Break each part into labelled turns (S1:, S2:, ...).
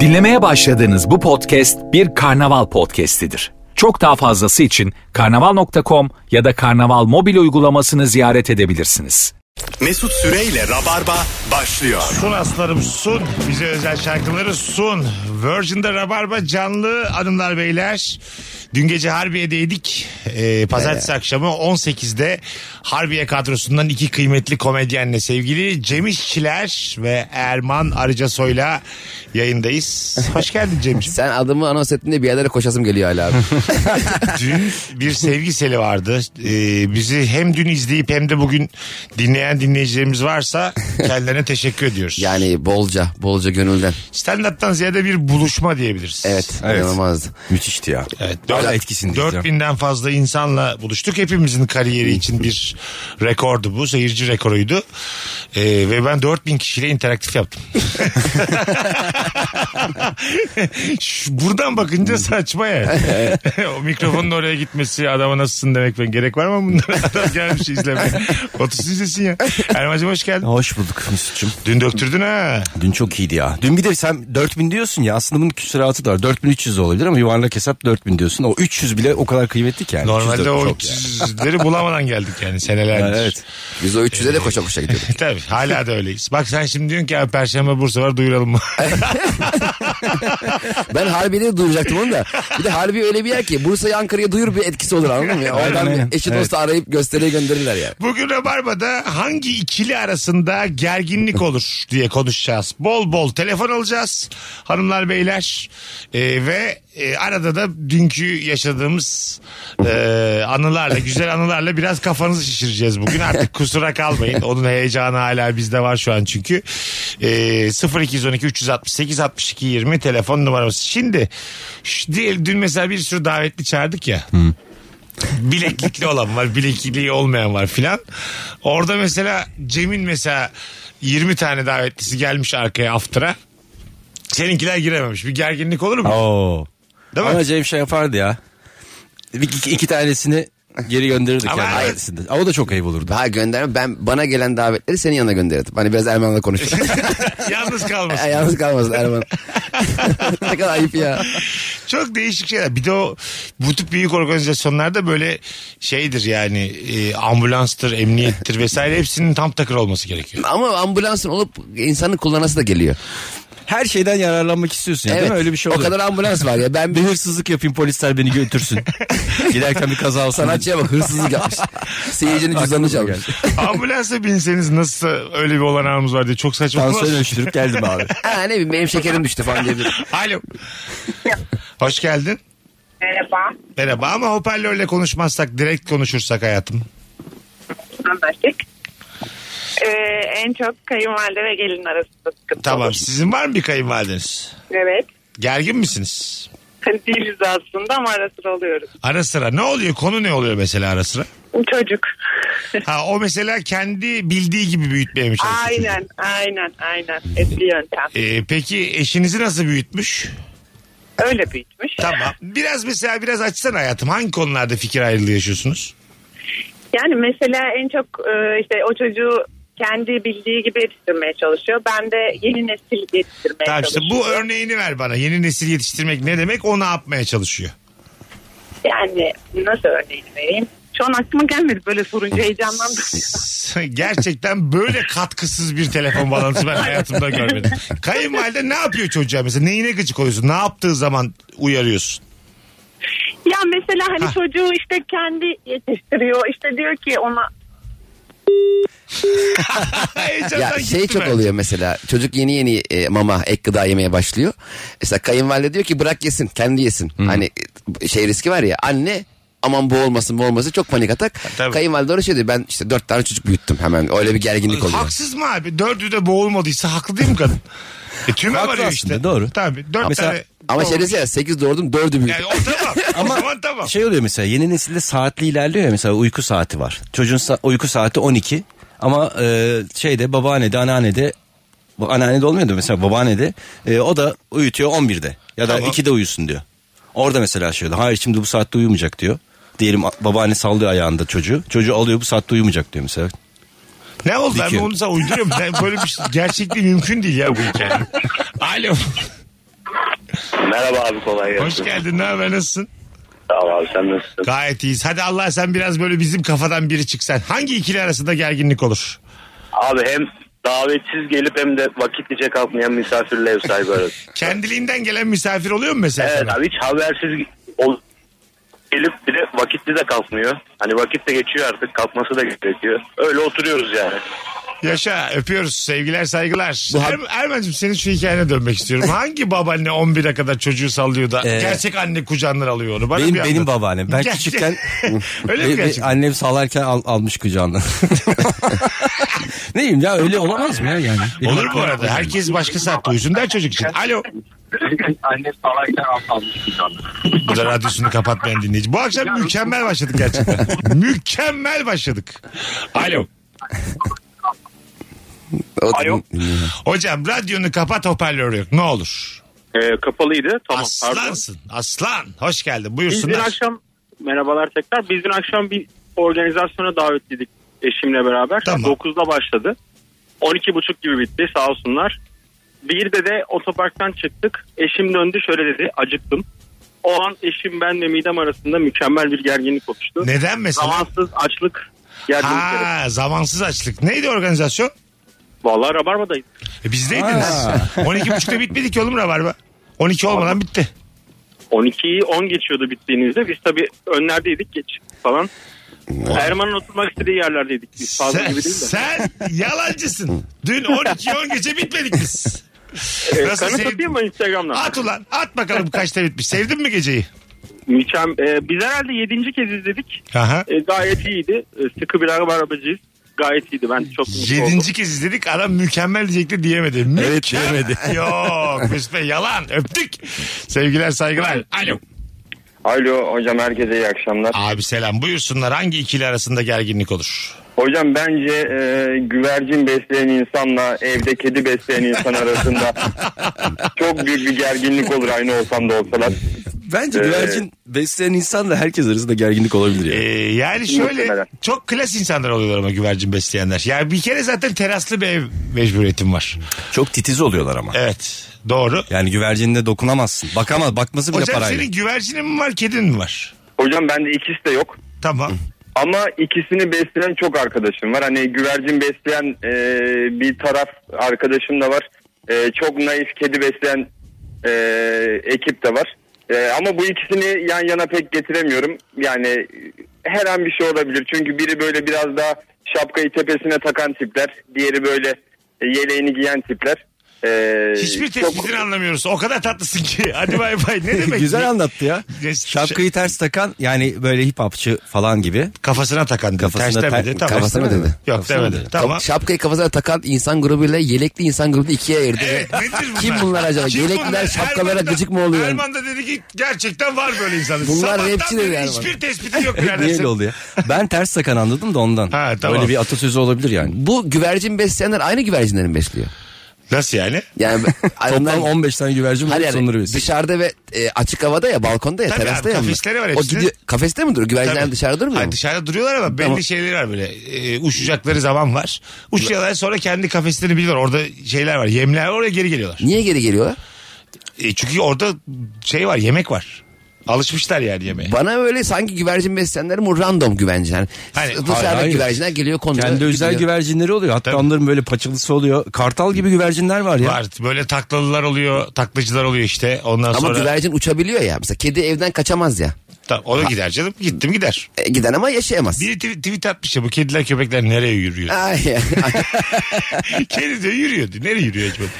S1: Dinlemeye başladığınız bu podcast bir karnaval podcastidir. Çok daha fazlası için karnaval.com ya da karnaval mobil uygulamasını ziyaret edebilirsiniz.
S2: Mesut Süreyle Rabarba başlıyor.
S3: Sun aslanım sun. Bize özel şarkıları sun. Virgin'de Rabarba canlı hanımlar beyler. Dün gece Harbiye'deydik. Ee, pazartesi akşamı 18'de Harbiye kadrosundan iki kıymetli komedyenle sevgili Cem İşçiler ve Erman Arıcasoy'la yayındayız. Hoş geldin Cem'ciğim.
S4: Sen adımı anons ettiğinde bir yerlere koşasım geliyor hala abi.
S3: Dün bir sevgi seli vardı. Ee, bizi hem dün izleyip hem de bugün dinleyen dinleyicilerimiz varsa kendilerine teşekkür ediyoruz.
S4: yani bolca, bolca gönülden.
S3: Stand-up'tan ziyade bir buluşma diyebiliriz.
S4: Evet, inanılmazdı.
S5: Müthişti ya.
S3: Evet,
S5: Hala
S3: dört-
S5: etkisindeyiz ya.
S3: 4000'den fazla insanla buluştuk. Hepimizin kariyeri için bir rekordu bu. Seyirci rekoruydu. Ee, ve ben 4000 kişiyle interaktif yaptım. Şu- Buradan bakınca saçma yani. o mikrofonun oraya gitmesi adama nasılsın demek ben gerek var mı bunlara? Adam gelmiş izlemeye. Otursun izlesin ya. Erman'cığım hoş geldin.
S5: Hoş bulduk Mesut'cum.
S3: Dün döktürdün ha.
S5: Dün çok iyiydi ya. Dün bir de sen 4000 diyorsun ya aslında bunun küsuratı da var. 4300 de olabilir ama yuvarlak hesap 4000 diyorsun. O 300 bile o kadar kıymetli ki yani. 300
S3: Normalde
S5: de
S3: o
S5: çok yani.
S3: 300'leri bulamadan geldik yani senelerdir.
S5: Evet.
S4: Biz o 300'e de koşa koşa gidiyorduk.
S3: Tabii hala da öyleyiz. Bak sen şimdi diyorsun ki "Abi Perşembe Bursa var duyuralım mı?
S4: Ben Harbiye'de duyacaktım onu da. Bir de Harbiye öyle bir yer ki Bursa'yı Ankara'ya duyur bir etkisi olur anladın mı? ya?
S5: Aynen,
S4: Oradan
S5: aynen.
S4: bir eşi
S5: Evet.
S4: dostu arayıp gösteriye gönderirler yani.
S3: Bugün Rabarba'da hangi ikili arasında gerginlik olur diye konuşacağız. Bol bol telefon alacağız hanımlar beyler Ee, ve e, arada da dünkü yaşadığımız e, anılarla güzel anılarla biraz kafanızı şişireceğiz bugün artık kusura kalmayın onun heyecanı hala bizde var şu an çünkü Ee, 0212 368 62 20 telefon numaramız şimdi şu, diyelim dün mesela bir sürü davetli çağırdık ya bileklikli olan var bilekliği olmayan var filan. Orada mesela Cem'in mesela 20 tane davetlisi gelmiş arkaya after'a. Seninkiler girememiş. Bir gerginlik olur mu?
S5: Oo.
S3: Değil mi?
S5: Ama Cem şey yapardı ya. Bir, iki, iki tanesini geri gönderirdik
S3: Ama
S5: yani
S3: evet.
S5: ailesinde. Ama o da çok ayıp olurdu.
S4: Daha gönderme ben bana gelen davetleri senin yanına gönderirdim. Hani biraz Erman'la konuştum.
S3: Yalnız kalmasın.
S4: Yalnız kalmasın Erman. ne kadar ayıp ya.
S3: Çok değişik şeyler. Bir de o bu tip büyük organizasyonlarda böyle şeydir yani e, ambulanstır, emniyettir vesaire hepsinin tam takır olması gerekiyor.
S4: Ama ambulansın olup insanın kullanası da geliyor.
S5: Her şeyden yararlanmak istiyorsun ya
S4: evet.
S5: değil mi? Öyle bir şey
S4: o
S5: oluyor.
S4: kadar ambulans var ya. Ben
S5: Bir
S4: bir
S5: hırsızlık yapayım polisler beni götürsün. Giderken bir kaza olsun.
S4: sanatçıya bak hırsızlık yapmış. Seyircinin cüzdanını
S5: Aklıma
S4: çalmış.
S5: geldi.
S3: Ambulansa binseniz nasıl öyle bir olanağımız var diye çok saçma.
S5: Tansiyonu ölçtürüp geldim abi.
S4: Ha, ne bileyim benim şekerim düştü falan diyebilirim.
S3: Alo. Hoş geldin.
S6: Merhaba.
S3: Merhaba ama hoparlörle konuşmazsak direkt konuşursak hayatım.
S6: Anlaştık. Ee, en çok kayınvalide ve gelin arasında sıkıntı
S3: Tamam
S6: olur.
S3: sizin var mı bir kayınvalideniz?
S6: Evet. hani
S3: Gergin misiniz?
S6: Değiliz aslında ama ara sıra oluyoruz.
S3: Ara sıra ne oluyor konu ne oluyor mesela ara sıra?
S6: Çocuk.
S3: Ha o mesela kendi bildiği gibi büyütmeye mi çalışıyor? çocuğu?
S6: aynen, aynen, aynen. Eski yöntem.
S3: Ee, peki eşinizi nasıl büyütmüş?
S6: Öyle büyütmüş.
S3: Tamam. Biraz mesela biraz açsana hayatım. Hangi konularda fikir ayrılığı yaşıyorsunuz?
S6: Yani mesela en çok e, işte o çocuğu kendi bildiği gibi yetiştirmeye çalışıyor. Ben de yeni nesil yetiştirmeye
S3: Tamam işte
S6: çalışıyorum.
S3: bu örneğini ver bana. Yeni nesil yetiştirmek ne demek? O ne yapmaya çalışıyor?
S6: Yani nasıl örneğini vereyim? Şu an aklıma gelmedi böyle sorunca heyecanlandım.
S3: Gerçekten böyle katkısız bir telefon bağlantısı ben hayatımda görmedim. Kayınvalide ne yapıyor çocuğa mesela? Neyine gıcık oluyorsun? Ne yaptığı zaman uyarıyorsun?
S6: Ya mesela hani
S3: Hah.
S6: çocuğu işte kendi yetiştiriyor. İşte diyor ki ona
S3: Heyecandan
S4: Ya şey
S3: gitti
S4: çok
S3: ben.
S4: oluyor mesela çocuk yeni yeni e, mama ek gıda yemeye başlıyor. Mesela kayınvalide diyor ki bırak yesin kendi yesin. Hani e, şey riski var ya anne aman bu olmasın bu olmasın çok panik atak.
S3: Tabii.
S4: Kayınvalide orada şey diyor ben işte dört tane çocuk büyüttüm hemen öyle bir gerginlik oluyor.
S3: Haksız mı abi? Dördü de boğulmadıysa haklı değil mi kadın? E tüme
S5: Haklı
S3: varıyor
S5: aslında,
S3: işte.
S5: doğru.
S3: Tabii. Dört
S5: Mesela-
S3: tane.
S4: Ama şerefsiz ya sekiz doğurdum dördü büyüttüm.
S3: Yani o tamam. o zaman tamam.
S5: Şey oluyor mesela yeni nesilde saatli ilerliyor ya mesela uyku saati var. Çocuğun sa- uyku saati 12 ama e, şeyde babaannede anneannede bu anneannede olmuyordu mesela babaannede e, o da uyutuyor 11'de ya da
S3: Tamam.
S5: 2'de uyusun diyor. Orada mesela şey oluyor hayır şimdi bu saatte uyumayacak diyor. Diyelim a- babaanne sallıyor ayağında çocuğu. Çocuğu alıyor bu saatte uyumayacak diyor mesela.
S3: Ne oldu? Ben
S5: Dikiyor.
S3: bunu sana uyduruyorum. Ben böyle bir şey, gerçekliği mümkün değil ya bu hikaye. Alo.
S7: Merhaba abi kolay
S3: Hoş
S7: gelsin.
S3: geldin. Ne haber? Nasılsın?
S7: Sağ ol abi sen nasılsın?
S3: Gayet iyiyiz. Hadi Allah sen biraz böyle bizim kafadan biri çıksan. Hangi ikili arasında gerginlik olur?
S7: Abi hem davetsiz gelip hem de vakitlice kalkmayan misafirle ev sahibi arası.
S3: Kendiliğinden gelen misafir oluyor mu mesela?
S7: evet
S3: sana?
S7: abi hiç habersiz ol- gelip bir de vakitli de kalkmıyor. Hani vakit de geçiyor artık kalkması da gerekiyor. Öyle oturuyoruz yani.
S3: Yaşa öpüyoruz. Sevgiler saygılar. Er, Ermen'cim senin şu hikayene dönmek istiyorum. Hangi babaanne 11'e kadar çocuğu sallıyor da
S5: Ee,
S3: gerçek anne kucağından alıyor onu? Bana
S5: benim
S3: bir anlat.
S5: benim babaannem. Ben
S3: Gerçek-
S5: küçükken
S3: Öyle
S5: Be-
S3: mi
S5: be-
S3: gerçekten?
S5: annem sallarken al- almış kucağından. Neyim ya öyle olamaz mı ya yani? Benim
S3: Olur bu
S5: aklım-
S3: arada. Herkes başka saatte uyusun der çocuk için. Alo.
S7: Anne salarken almış
S3: Bu da radyosunu kapatmayan dinleyici. Bu akşam mükemmel başladık gerçekten. mükemmel başladık. Alo.
S4: O da-
S7: Alo.
S3: Hocam radyonu kapat hoparlör yok. Ne olur.
S7: Ee, kapalıydı tamam pardon.
S3: Aslansın. Aslan. Hoş geldin.
S7: Biz dün
S3: Buyursunlar.
S7: akşam merhabalar tekrar. Biz dün akşam bir organizasyona davetliydik eşimle beraber.
S3: Tamam.
S7: 9'da başladı. 12.30 gibi bitti sağ olsunlar. Bir de de otoparktan çıktık. Eşim döndü şöyle dedi acıktım. O an eşim ben ve midem arasında mükemmel bir gerginlik oluştu.
S3: Neden mesela?
S7: Zamansız açlık gerginlikleri.
S3: Ha, zamansız açlık. Neydi organizasyon?
S7: Vallahi rabarbadayız.
S3: E, bizdeydiniz.
S5: Ha.
S3: 12.30'da bitmedi ki oğlum Rabarba. 12 olmadan bitti.
S7: 12'yi 10 geçiyordu bittiğinizde. Biz tabii önlerdeydik geç falan. Erman'ın oturmak istediği yerlerdeydik biz fazla
S3: Sen,
S7: gibi değil de.
S3: sen yalancısın. Dün 12 10 gece bitmedik biz.
S7: Ee,
S3: Nasıl
S7: kanıt
S3: sevdin?
S7: atayım mı Instagram'dan?
S3: At ulan at bakalım kaçta bitmiş. Sevdin mi geceyi?
S7: Mükemmel. Ee, biz herhalde 7. kez izledik.
S3: Aha.
S7: Ee, gayet iyiydi. Ee, sıkı bir arabacıyız. Gayet iyiydi. Ben çok mutlu oldum.
S3: Yedinci kez izledik adam mükemmel diyecekti diyemedi. Mü-
S5: Evet diyemedi.
S3: Yok Mesut Bey yalan öptük. Sevgiler saygılar. Alo.
S7: Alo hocam herkese iyi akşamlar.
S3: Abi selam buyursunlar hangi ikili arasında gerginlik olur?
S7: Hocam bence e, güvercin besleyen insanla evde kedi besleyen insan arasında çok büyük bir gerginlik olur aynı olsam da olsalar.
S5: Bence
S7: Ee,
S5: güvercin besleyen insanla herkes arasında gerginlik olabilir
S3: Ee,
S5: ya.
S3: yani şöyle
S7: Muhtemelen.
S3: çok klas insanlar oluyorlar ama güvercin besleyenler. Yani bir kere zaten teraslı bir ev mecburiyetim var.
S5: Çok titiz oluyorlar ama.
S3: Evet doğru.
S5: Yani güvercinine dokunamazsın. Bakamaz, bakması bile
S3: Hocam
S5: parayla.
S3: senin güvercinin mi var kedin mi var?
S7: Hocam bende ikisi de yok.
S3: Tamam.
S7: Ama ikisini besleyen çok arkadaşım var. Hani güvercin besleyen e, bir taraf arkadaşım da var. E, çok naif kedi besleyen e, ekip de var. E, ama bu ikisini yan yana pek getiremiyorum. Yani e, her an bir şey olabilir. Çünkü biri böyle biraz daha şapkayı tepesine takan tipler. Diğeri böyle e, yeleğini giyen tipler. E,
S3: Hiçbir
S7: çok-
S3: tespitini anlamıyoruz. O kadar tatlısın ki. Hadi bay bay. Ne demek?
S5: Güzel anlattı ya.
S3: Ya,
S5: Şapkayı ters takan yani böyle hip hopçı falan gibi.
S3: Kafasına takan dedi.
S5: Kafasına
S3: Ters
S5: tak-
S3: demedi. Tamam.
S4: Kafasına
S5: Kafasına
S4: dedi.
S3: Yok
S5: Kafasına
S3: demedi.
S5: dedi.
S3: Tamam.
S4: Şapkayı kafasına takan insan grubuyla yelekli insan grubunu ikiye ayırdı.
S3: Evet, nedir bunlar?
S4: Kim bunlar acaba?
S3: Kim
S4: Yelekliler
S3: bunlar?
S4: şapkalara
S3: Erman da-
S4: gıcık mı oluyor?
S3: Erman da dedi ki gerçekten var böyle insanlar.
S4: Bunlar
S3: Sabahtan
S4: rapçi
S3: beri
S4: dedi Erman.
S3: Hiçbir tespiti yok
S5: Hep niye öyle
S3: neredeyse.
S5: oldu ya? Ben ters takan anladım da ondan.
S3: Ha, tamam.
S5: Böyle bir atasözü olabilir yani.
S4: Bu güvercin besleyenler aynı güvercinleri mi besliyor.
S3: Nasıl yani?
S4: Yani
S5: Toplam
S4: onlar-
S5: 15 tane güvercin var.
S4: Hayır yani
S5: sonları
S3: şey
S5: besliyor.
S4: dışarıda ve e, açık havada ya balkonda ya
S3: Tabii abi,
S4: terasta ya. bunlar.
S3: kafesleri var
S4: O
S3: hepsinin.
S4: gidiyor, kafeste mi duruyor? Güvercinler
S3: Tabii.
S4: dışarıda durmuyor
S3: Hayır,
S4: mu?
S3: dışarıda duruyorlar ama belli
S4: Tamam.
S3: şeyleri var böyle. Ee, uçacakları zaman var. Uçuyorlar sonra kendi kafeslerini biliyorlar. Orada şeyler var. Yemler var, oraya geri geliyorlar.
S4: Niye geri geliyorlar?
S3: E, çünkü orada şey var yemek var. Alışmışlar yani yemeğe.
S4: Bana böyle sanki güvercin besleyenler bu random güvercinler. Yani
S3: Hayır,
S4: dışarıda
S5: hayır.
S4: güvercinler geliyor konuyor.
S5: Kendi özel
S4: gidiyor.
S5: güvercinleri oluyor. Hatta
S3: Tabii.
S5: onların böyle paçalısı oluyor. Kartal gibi güvercinler var ya.
S3: Var. Böyle taklalılar oluyor, taklacılar oluyor işte. Ondan
S4: Ama
S3: sonra
S4: güvercin uçabiliyor ya. Mesela kedi evden kaçamaz ya.
S3: Tamam, o da gider canım. Gittim gider.
S4: E, giden ama yaşayamaz.
S3: Biri tw- tweet atmış ya bu kediler köpekler nereye yürüyor?
S4: Ay,
S3: Kedi diyor yürüyor diyor. Nereye yetişecek acaba?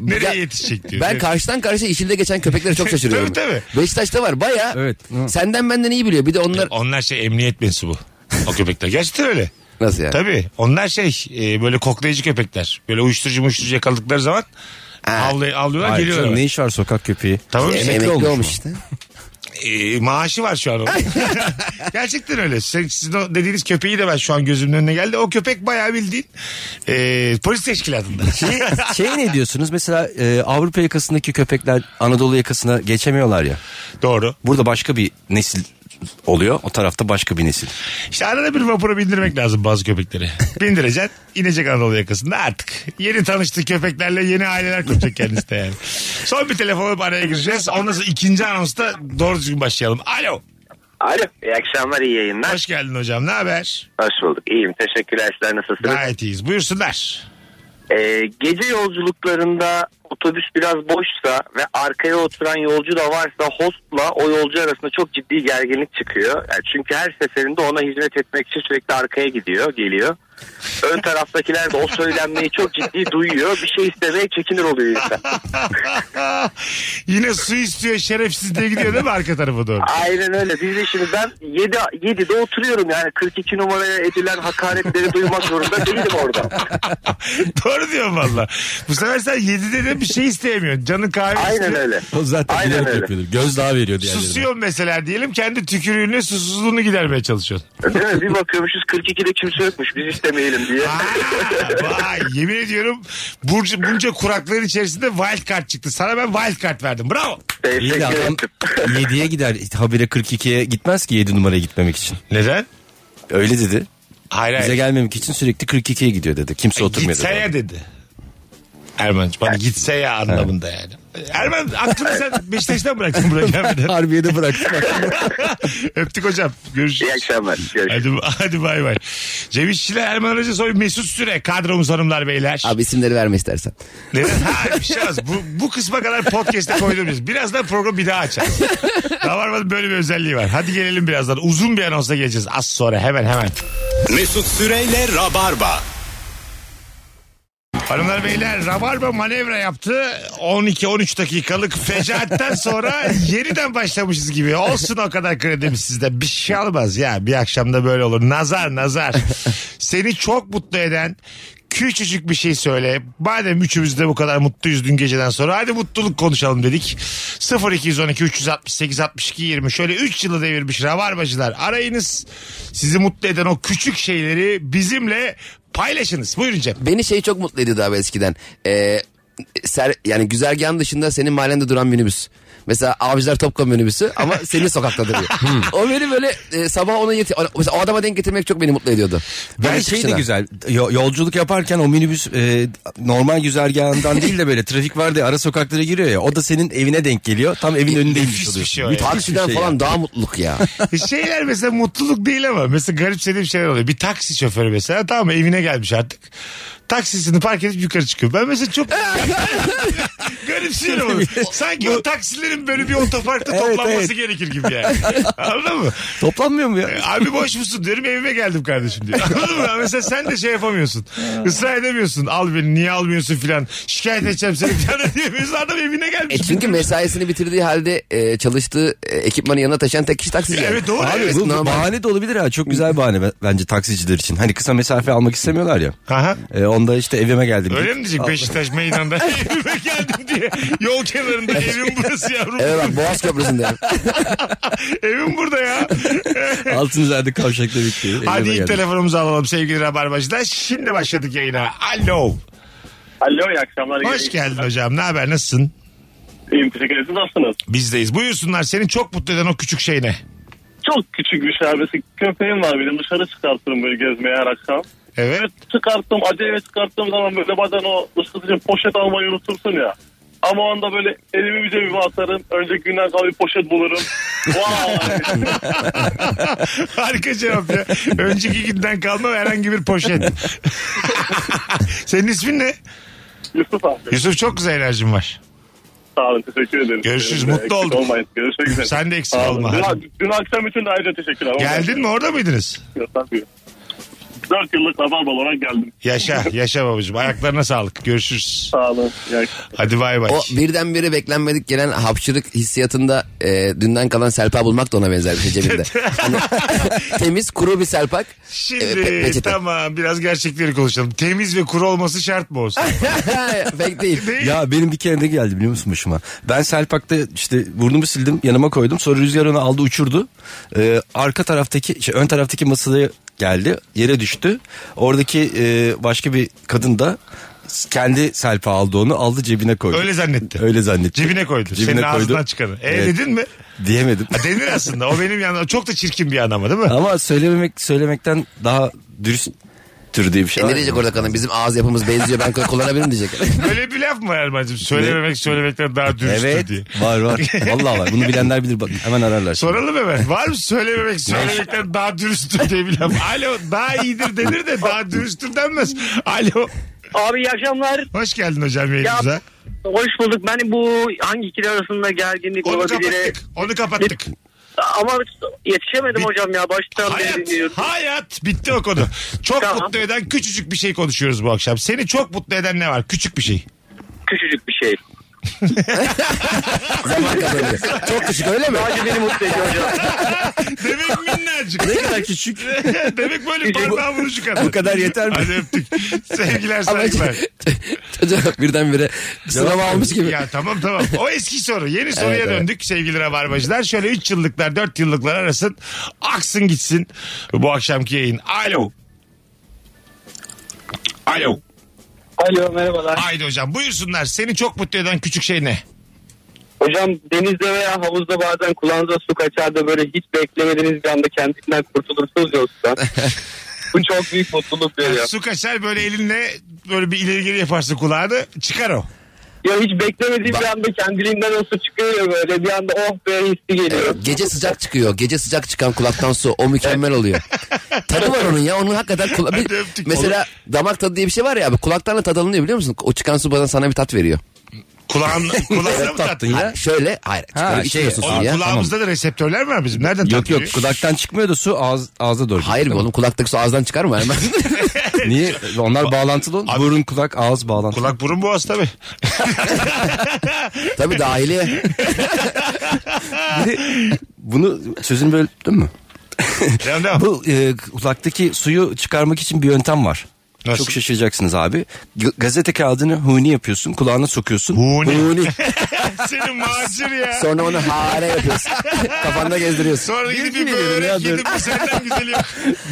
S3: nereye
S4: ya-
S3: yetişecek diyor.
S4: Ben
S3: Nereye-
S4: karşıdan karşıya işinde geçen köpeklere çok şaşırıyorum.
S3: Tabii,
S4: Beşiktaş'ta var baya.
S5: Evet.
S4: Senden benden iyi biliyor. Bir de onlar
S3: Onlar şey emniyet mensubu. O köpekler. Gerçekten öyle.
S4: nasıl E, yani?
S3: Tabii. Onlar şey e, böyle koklayıcı köpekler. Böyle uyuşturucu uyuşturucu yakaladıkları zaman avlay, avlıyorlar
S5: Hayır,
S3: geliyorlar.
S5: canım, ne iş var sokak köpeği?
S3: Tamam mı?
S4: Emekli,
S5: olmuş
S4: olmuş,
S5: mu?
S4: işte.
S3: E, maaşı var şu an onun. Gerçekten öyle. Sen- sizin o dediğiniz köpeği de ben şu an gözümün önüne geldi. O köpek bayağı bildiğin e, polis teşkilatında.
S5: şey ne diyorsunuz mesela e, Avrupa yakasındaki köpekler Anadolu yakasına geçemiyorlar ya.
S3: Doğru.
S5: Burada başka bir nesil oluyor. O tarafta başka bir nesil.
S3: İşte arada bir vapura bindirmek lazım bazı köpekleri. Bindireceksin inecek Anadolu yakasında artık. Yeni tanıştığı köpeklerle yeni aileler kuracak kendisi de yani. Son bir telefon alıp araya gireceğiz. Ondan sonra ikinci anonsta doğru düzgün başlayalım. Alo.
S7: Alo. İyi akşamlar, iyi yayınlar.
S3: Hoş geldin hocam ne haber?
S7: Hoş bulduk. İyiyim. Teşekkürler. Sizler nasılsınız?
S3: Gayet iyiyiz buyursunlar.
S7: Ee, gece yolculuklarında otobüs biraz boşsa ve arkaya oturan yolcu da varsa hostla o yolcu arasında çok ciddi gerginlik çıkıyor. Yani çünkü her seferinde ona hizmet etmek için sürekli arkaya gidiyor, geliyor. Ön taraftakiler de o söylenmeyi çok ciddi duyuyor. Bir şey istemeye çekinir oluyor insan.
S3: Yine su istiyor şerefsizliğe gidiyor değil mi arka tarafa doğru?
S7: Aynen öyle. Biz de şimdi ben 7 7'de oturuyorum yani 42 numaraya edilen hakaretleri duymak zorunda değilim orada.
S3: doğru diyorum valla. Bu sefer sen 7'de de bir şey isteyemiyorsun. Canın kahve
S7: Aynen
S3: istiyor.
S7: öyle.
S5: O zaten
S7: Aynen
S5: bilerek
S7: öyle.
S5: yapıyordur. Gözdağı veriyor diğerlerine.
S3: Susuyor mesela diyelim kendi tükürüğünle susuzluğunu gidermeye çalışıyorsun.
S7: Değil mi? Bir bakıyormuşuz 42'de kimse yokmuş biz istemeyelim diye.
S3: Aa, vay yemin ediyorum Burcu, bunca kuraklığın içerisinde wild card çıktı. Sana ben wild card verdim. Bravo.
S5: İyi de
S7: Teşekkür
S5: adam
S7: ederim.
S5: 7'ye gider. Habire 42'ye gitmez ki 7 numaraya gitmemek için.
S3: Neden?
S5: Öyle dedi.
S3: Hayır
S5: Bize
S3: hayır.
S5: gelmemek için sürekli 42'ye gidiyor dedi.
S3: E,
S5: Kimse oturmuyor
S3: Gitse
S5: dedi.
S3: ya dedi. Erman'cığım bana gitse ya anlamında yani. Erman aklını sen Beşiktaş'tan bıraktın buraya gelmeden.
S5: Harbiye'de bıraktım.
S3: Öptük hocam. Görüşürüz.
S7: İyi akşamlar. Görüşürüz.
S3: Hadi, hadi bay bay. Cem İşçiler, Erman Aracı Soy, Mesut Süre. Kadromuz hanımlar beyler.
S4: Abi isimleri verme istersen.
S3: Neden? Ha, bir şey az. Bu, bu kısma kadar podcast'e koydum biz. Birazdan program bir daha açarız. Rabarbanın böyle bir özelliği var. Hadi gelelim birazdan. Uzun bir anonsa geleceğiz. Az sonra hemen hemen.
S2: Mesut Süreyle Rabarba.
S3: Hanımlar beyler Rabarba manevra yaptı. 12-13 dakikalık fecaatten sonra yeniden başlamışız gibi. Olsun o kadar kredimiz sizde. Bir şey almaz ya. Bir akşamda böyle olur. Nazar nazar. Seni çok mutlu eden küçücük bir şey söyle. Madem üçümüz de bu kadar mutluyuz dün geceden sonra hadi mutluluk konuşalım dedik. 0212 368 62 20 şöyle 3 yılı devirmiş rabarbacılar arayınız. Sizi mutlu eden o küçük şeyleri bizimle paylaşınız. Buyurun Cem.
S4: Beni şey çok mutlu ediyordu abi eskiden. Ee, ser, yani güzergahın dışında senin mahallende duran minibüs. Mesela Avcılar Topkapı minibüsü ama senin sokakta duruyor.
S5: Hmm.
S4: o beni böyle e, sabah ona yeti mesela o adama denk getirmek çok beni mutlu ediyordu.
S5: Ben
S4: Böyle
S5: şey de
S4: çıkışına.
S5: güzel. yo- Yolculuk yaparken o minibüs e, normal güzergahından değil de böyle trafik var diye ara sokaklara giriyor ya. O da senin evine denk geliyor. Tam evin önündeymiş
S3: bir
S5: oluyorsun.
S3: şey o ya.
S4: Taksiden
S5: şey
S4: falan daha mutluluk ya.
S3: Şeyler mesela mutluluk değil ama mesela garipsediğim şeyler oluyor. Bir taksi şoförü mesela tamam mı evine gelmiş artık. Taksisini park edip yukarı çıkıyor. Ben mesela çok garipsiyorum onu. Sanki o taksilerin böyle bir otoparkta
S5: Evet,
S3: toplanması
S5: evet.
S3: gerekir gibi yani. Anladın mı? E,
S5: Toplanmıyor mu ya?
S3: Abi boş musun diyorum evime geldim kardeşim diyor. Anladın mı? Mesela sen de şey yapamıyorsun. Israr edemiyorsun. Al beni niye almıyorsun filan. Şikayet edeceğim seni filan diyemiyorsun. Adam evine gelmiş.
S4: E çünkü mesaisini bitirdiği halde e, çalıştığı e, ekipmanı yanına taşıyan tek kişi taksici. yani.
S3: Evet, doğru,
S4: Abi,
S3: evet.
S4: bu
S5: Bu
S4: normal.
S5: bahane de olabilir ha. Çok güzel bahane be- bence taksiciler için. Hani kısa mesafe almak istemiyorlar ya.
S3: Aha.
S5: E, onda işte evime geldim.
S3: Öyle mi diyecek Beşiktaş meydanda evime geldim diye yol kenarında evim burası yavrum.
S4: Evet bak Boğaz Köprüsü'nde.
S3: Evim burada ya.
S5: Altınızerde kavşakta bekliyor. Evime
S3: Hadi ilk
S5: geldim.
S3: telefonumuzu alalım sevgili Rabarbacılar. Şimdi başladık yayına. Alo.
S8: Alo iyi akşamlar.
S3: Hoş geldin hocam. Ne haber? Nasılsın?
S8: İyiyim teşekkür ederiz. Nasılsınız?
S3: Bizdeyiz. Buyursunlar. Seni çok mutlu eden o küçük şey ne?
S8: Çok küçük bir şey abisi. Köpeğim var benim dışarı çıkartırım böyle gezmeye her akşam.
S3: Evet.
S8: Çıkarttım acele çıkarttığım zaman böyle bazen o ısıtıcı poşet almayı unutursun ya. Ama o anda böyle elimi bir cebime atarım. Önceki günden kalan bir poşet bulurum. Vay.
S3: Harika cevap ya. Önceki günden kalma herhangi bir poşet. Senin ismin ne?
S8: Yusuf abi.
S3: Yusuf çok güzel enerjin var.
S8: Sağ olun teşekkür ederim.
S3: Görüşürüz,
S8: Ee,
S3: mutlu
S8: eksik
S3: olduk.
S8: Olmayın. Görüşmek üzere.
S3: Sen de eksik
S8: Sağ olun.
S3: olma.
S8: Dün, dün akşam için de ayrıca teşekkürler.
S3: Geldin mi orada mıydınız?
S8: Tabii. 4 yıllık rabarbalı olarak geldim.
S3: Yaşa, yaşa babacığım. Ayaklarına sağlık. Görüşürüz.
S8: Sağ olun. iyi akşamlar.
S3: Hadi bay bay.
S4: O birdenbire beklenmedik gelen hapşırık hissiyatında e, dünden kalan selpa bulmak da ona benzer bir şey cebinde. Hani temiz kuru bir selpak.
S3: Şimdi
S4: e, pe- peçete.
S3: tamam biraz gerçekleri konuşalım. Temiz ve kuru olması şart mı olsun?
S4: Pek değil.
S3: Değil.
S5: Ya benim bir kere de geldi biliyor musun başıma? Ben Selpak'ta işte burnumu sildim yanıma koydum. Sonra rüzgar onu aldı uçurdu. Ee, arka taraftaki şey, ön taraftaki masaya geldi. Yere düştü. Oradaki e, başka bir kadın da kendi selfie aldı onu aldı cebine koydu.
S3: Öyle zannetti.
S5: Öyle zannetti.
S3: Cebine koydu. Senin ağzından çıkanı. E
S5: Evet.
S3: dedin mi?
S5: Diyemedim.
S3: Ha, Denir aslında. O benim yanımda. Çok da çirkin bir adam değil mi?
S5: Ama söylememek söylemekten daha dürüst tür diye bir şey
S4: E
S5: var.
S4: ne diyecek orada kadın? Bizim ağız yapımız benziyor ben kullanabilirim diyecek.
S3: Böyle bir laf mı var Erman'cığım? Söylememek söylemekten daha dürüsttür
S5: Evet
S3: diye.
S5: var var. Vallahi var. Bunu bilenler bilir. Bak, hemen ararlar. şimdi.
S3: Soralım hemen. Var mı söylememek söylemekten daha dürüsttür diye bir laf? Alo daha iyidir denir de daha dürüsttür denmez. Alo.
S9: Abi iyi akşamlar.
S3: Hoş geldin hocam yayınımıza.
S9: Ya, Hoş bulduk. Ben bu hangi ikili arasında gerginlik
S3: Onu
S9: olabilir?
S3: kapattık. Onu kapattık.
S9: Ama yetişemedim
S3: Bir-
S9: hocam ya. Baştan beri
S3: Hayat,
S9: dinliyorum.
S3: hayat bitti o konu. Çok
S9: Tamam.
S3: mutlu eden küçücük bir şey konuşuyoruz bu akşam. Seni çok mutlu eden ne var? Küçük bir şey.
S9: Küçücük bir şey.
S4: Zaman kazanıyor. Çok küçük öyle mi?
S9: Sadece beni mutlu ediyor hocam.
S3: Demek minnacık.
S5: Ne kadar küçük.
S3: Demek böyle parmağı vurucu kadar.
S5: Bu kadar yeter mi?
S3: Hadi öptük. Sevgiler
S4: Ama
S3: saygılar.
S4: Çocuk birdenbire sınava almış gibi.
S3: Ya tamam tamam. O eski soru. Yeni soruya
S4: Evet, evet.
S3: döndük sevgili rabarbacılar. Şöyle 3 yıllıklar 4 yıllıklar arasın. Aksın gitsin bu akşamki yayın. Alo. Alo.
S9: Alo merhabalar.
S3: Haydi hocam buyursunlar. Seni çok mutlu eden küçük şey ne?
S9: Hocam denizde veya havuzda bazen kulağınıza su kaçar da böyle hiç beklemediğiniz bir anda kendisinden kurtulursunuz yoksa. Bu çok büyük mutluluk veriyor.
S3: Su kaçar böyle elinle böyle bir ileri geri yaparsın kulağını çıkar o.
S9: Ya hiç beklemediğim bir anda kendiliğinden o su çıkıyor ya böyle. Bir anda oh be hissi geliyor.
S4: Gece sıcak çıkıyor. Gece sıcak çıkan kulaktan su o mükemmel oluyor. tadı var onun ya. Onun hakikaten kula- bir-
S3: Hadi öptük.
S4: mesela damak tadı diye bir şey var ya abi. Kulaktan da tad alınıyor biliyor musun? O çıkan su bana sana bir tat veriyor.
S3: Kulağın, kulağına mı
S5: tattın
S3: tattın?
S5: ya.
S4: Ha, şöyle hayır. Ha,
S5: şey,
S4: içmiyorsun
S5: o
S4: suyu ya.
S5: kulak-
S3: Kulağımızda da reseptörler mi var bizim? Nereden
S5: Yok
S3: tattırıyor?
S5: yok kulaktan çıkmıyor da su ağız, ağza doğru.
S4: Hayır be
S5: gidiyor.
S4: oğlum kulaktaki su ağızdan çıkar mı? Hemen.
S5: Niye? Onlar bağlantılı oğlum.
S3: Abi-
S5: Burun kulak ağız bağlantılı.
S3: Kulak burun boğaz tabii.
S4: Tabii dahiliye.
S5: Bunu sözünü böldün mü?
S3: Devam devam.
S5: Bu e, kulaktaki suyu çıkarmak için bir yöntem var.
S3: Nasıl?
S5: Çok şaşıracaksınız abi. G- gazete kağıdını huni yapıyorsun, kulağına sokuyorsun.
S3: Huni.
S4: Huni.
S3: Senin macir ya.
S4: Sonra onu hare yapıyorsun. Kafanda gezdiriyorsun.
S3: Sonra gidip bir
S5: Bilgin ediyorum ya,
S3: börek
S5: dur.
S3: gidip senden güzeli yok.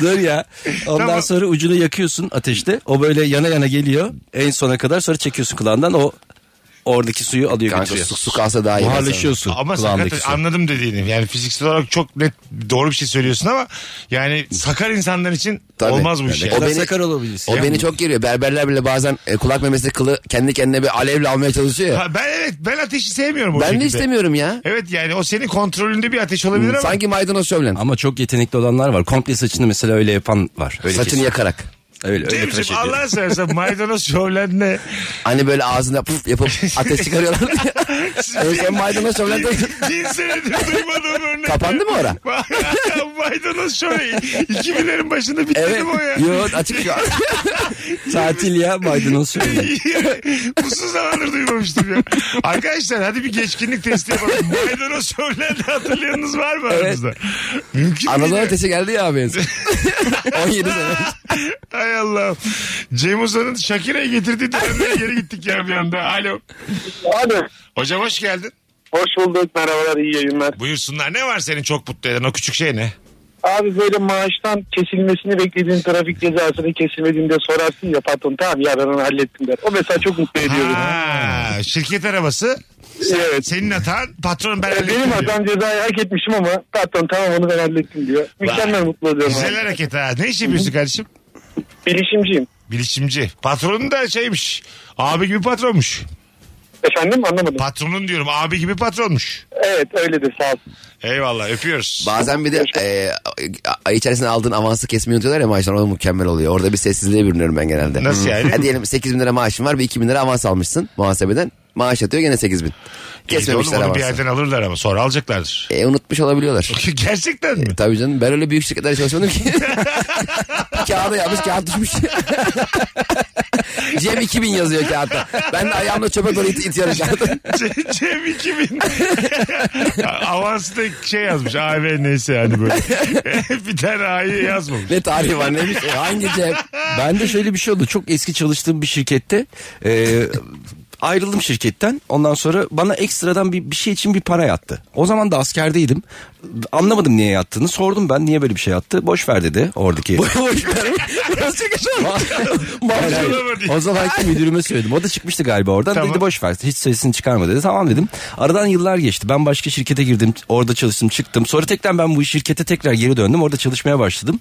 S5: Dur ya. Ondan
S3: Tamam.
S5: sonra ucunu yakıyorsun ateşte. O böyle yana yana geliyor. En sona kadar sonra çekiyorsun kulağından o oradaki suyu alıyor
S4: Kanka
S5: götürüyor.
S4: su, su kalsa daha iyi.
S5: Buharlaşıyorsun
S3: Ama
S5: kulağındaki
S3: sakat
S5: su.
S3: anladım dediğini. Yani fiziksel olarak çok net doğru bir şey söylüyorsun ama yani sakar insanlar için
S4: Tabii.
S3: olmaz bu iş.
S4: Yani
S3: yani.
S4: o beni-
S5: sakar olabilirsin.
S4: O beni çok geriyor. Berberler bile bazen e, kulak memesi kılı kendi kendine bir alevle almaya çalışıyor ya.
S3: Ha, ben evet ben ateşi sevmiyorum o
S4: ben
S3: şekilde.
S4: de istemiyorum Hmm, ya.
S3: Evet yani o senin kontrolünde bir ateş olabilir ama.
S4: Sanki maydanoz şömlen.
S5: Ama çok yetenekli olanlar var. Komple saçını mesela öyle yapan var. Öyle
S4: Saçını
S5: kesiyor.
S4: yakarak.
S5: Öyle öyle tıraş
S3: Cemciğim
S5: ediyor.
S3: Allah'ını seversen maydanoz şovlen ne?
S4: Hani böyle ağzında puf yapıp ateş çıkarıyorlar. evet, sen maydanoz şömlen de-
S3: Bin senedir duymadığım örnek.
S4: Kapandı mı ora?
S3: maydanoz şöyle 2000'lerin başında bitti
S4: Evet.
S3: mi o ya?
S4: Yok açık şu an.
S5: Tatil ya maydanoz şöyle.
S3: Uzun zamandır duymamıştım ya. Arkadaşlar hadi bir geçkinlik testi yapalım. Maydanoz şovlendi hatırlayanınız var mı aranızda? Mümkün
S4: Anadolu
S3: değil.
S4: ateşi geldi ya abi. en son. 17 sene.
S3: Hay Allah. Cem Uzan'ın Shakira'yı getirdiği dönemlere geri gittik ya bir anda. Alo.
S9: Abi
S3: Hocam hoş geldin.
S9: hoş bulduk. Merhabalar iyi yayınlar.
S3: Buyursunlar. Ne var senin çok mutlu eden o küçük şey ne?
S9: Abi böyle maaştan kesilmesini beklediğin trafik cezasını kesilmediğinde sorarsın ya patron tamam ya ben onu hallettim der. O mesela çok mutlu ediyor.
S3: Ha, şirket arabası.
S9: beni. Evet.
S3: Senin hatan patron ben hallettim
S9: Benim
S3: diyor.
S9: hatam cezayı hak etmişim ama patron tamam onu ben hallettim diyor. Mükemmel mutlu oluyorum.
S3: Güzel
S9: abi.
S3: hareket ha. Ne iş yapıyorsun kardeşim?
S9: Bilişimciyim.
S3: Bilişimci. Patronun da şeymiş. Abi gibi patronmuş.
S9: Efendim anlamadım.
S3: Patronun diyorum abi gibi patronmuş.
S9: evet öyledir sağ olsun.
S3: Eyvallah öpüyoruz.
S4: Bazen bir de e, ay içerisinde aldığın avansı kesmeyi unutuyorlar ya maaşlar o mükemmel oluyor. Orada bir sessizliğe bürünüyorum ben genelde. Hmm.
S3: Nasıl yani?
S4: Ha diyelim 8 bin lira maaşın var bir 2 bin lira avans almışsın muhasebeden. Maaş yatıyor gene 8 bin.
S3: Oğlum
S4: Kesmemişler
S3: onu bir
S4: avansı.
S3: yerden alırlar ama sonra alacaklardır.
S4: E, unutmuş olabiliyorlar.
S3: Gerçekten mi?
S4: Tabii canım ben öyle büyük şirketlerde çalışmadım ki. Kağıda yapmış kağıt düşmüş. Cem 2000 yazıyor kağıtta. Ben de ayağımla çöpe doğru it, itiyorum kağıdı.
S3: Ce- Cem 2000. Avansta şey yazmış. AV neyse yani böyle. bir tane A'yı yazmamış.
S4: Ne tarihi var neymiş e, hangi Cem?
S5: Ben de şöyle bir şey oldu. Çok eski çalıştığım bir şirkette e, Ayrıldım şirketten. Ondan sonra bana ekstradan bir, bir şey için bir para yattı. O zaman da askerdeydim. Anlamadım niye yattığını. Sordum ben niye böyle bir şey yattı. Boş ver dedi oradaki.
S4: Boş ver. Nasıl
S5: Hayır, hayır.
S3: Yapma diye.
S5: O zamanki müdürüme söyledim. O da çıkmıştı galiba oradan.
S3: Tamam.
S5: Dedi boş ver. Hiç sesini çıkarma dedi. Tamam dedim. Aradan yıllar geçti. Ben başka şirkete girdim. Orada çalıştım çıktım. Sonra tekrar ben bu şirkete tekrar geri döndüm. Orada çalışmaya başladım.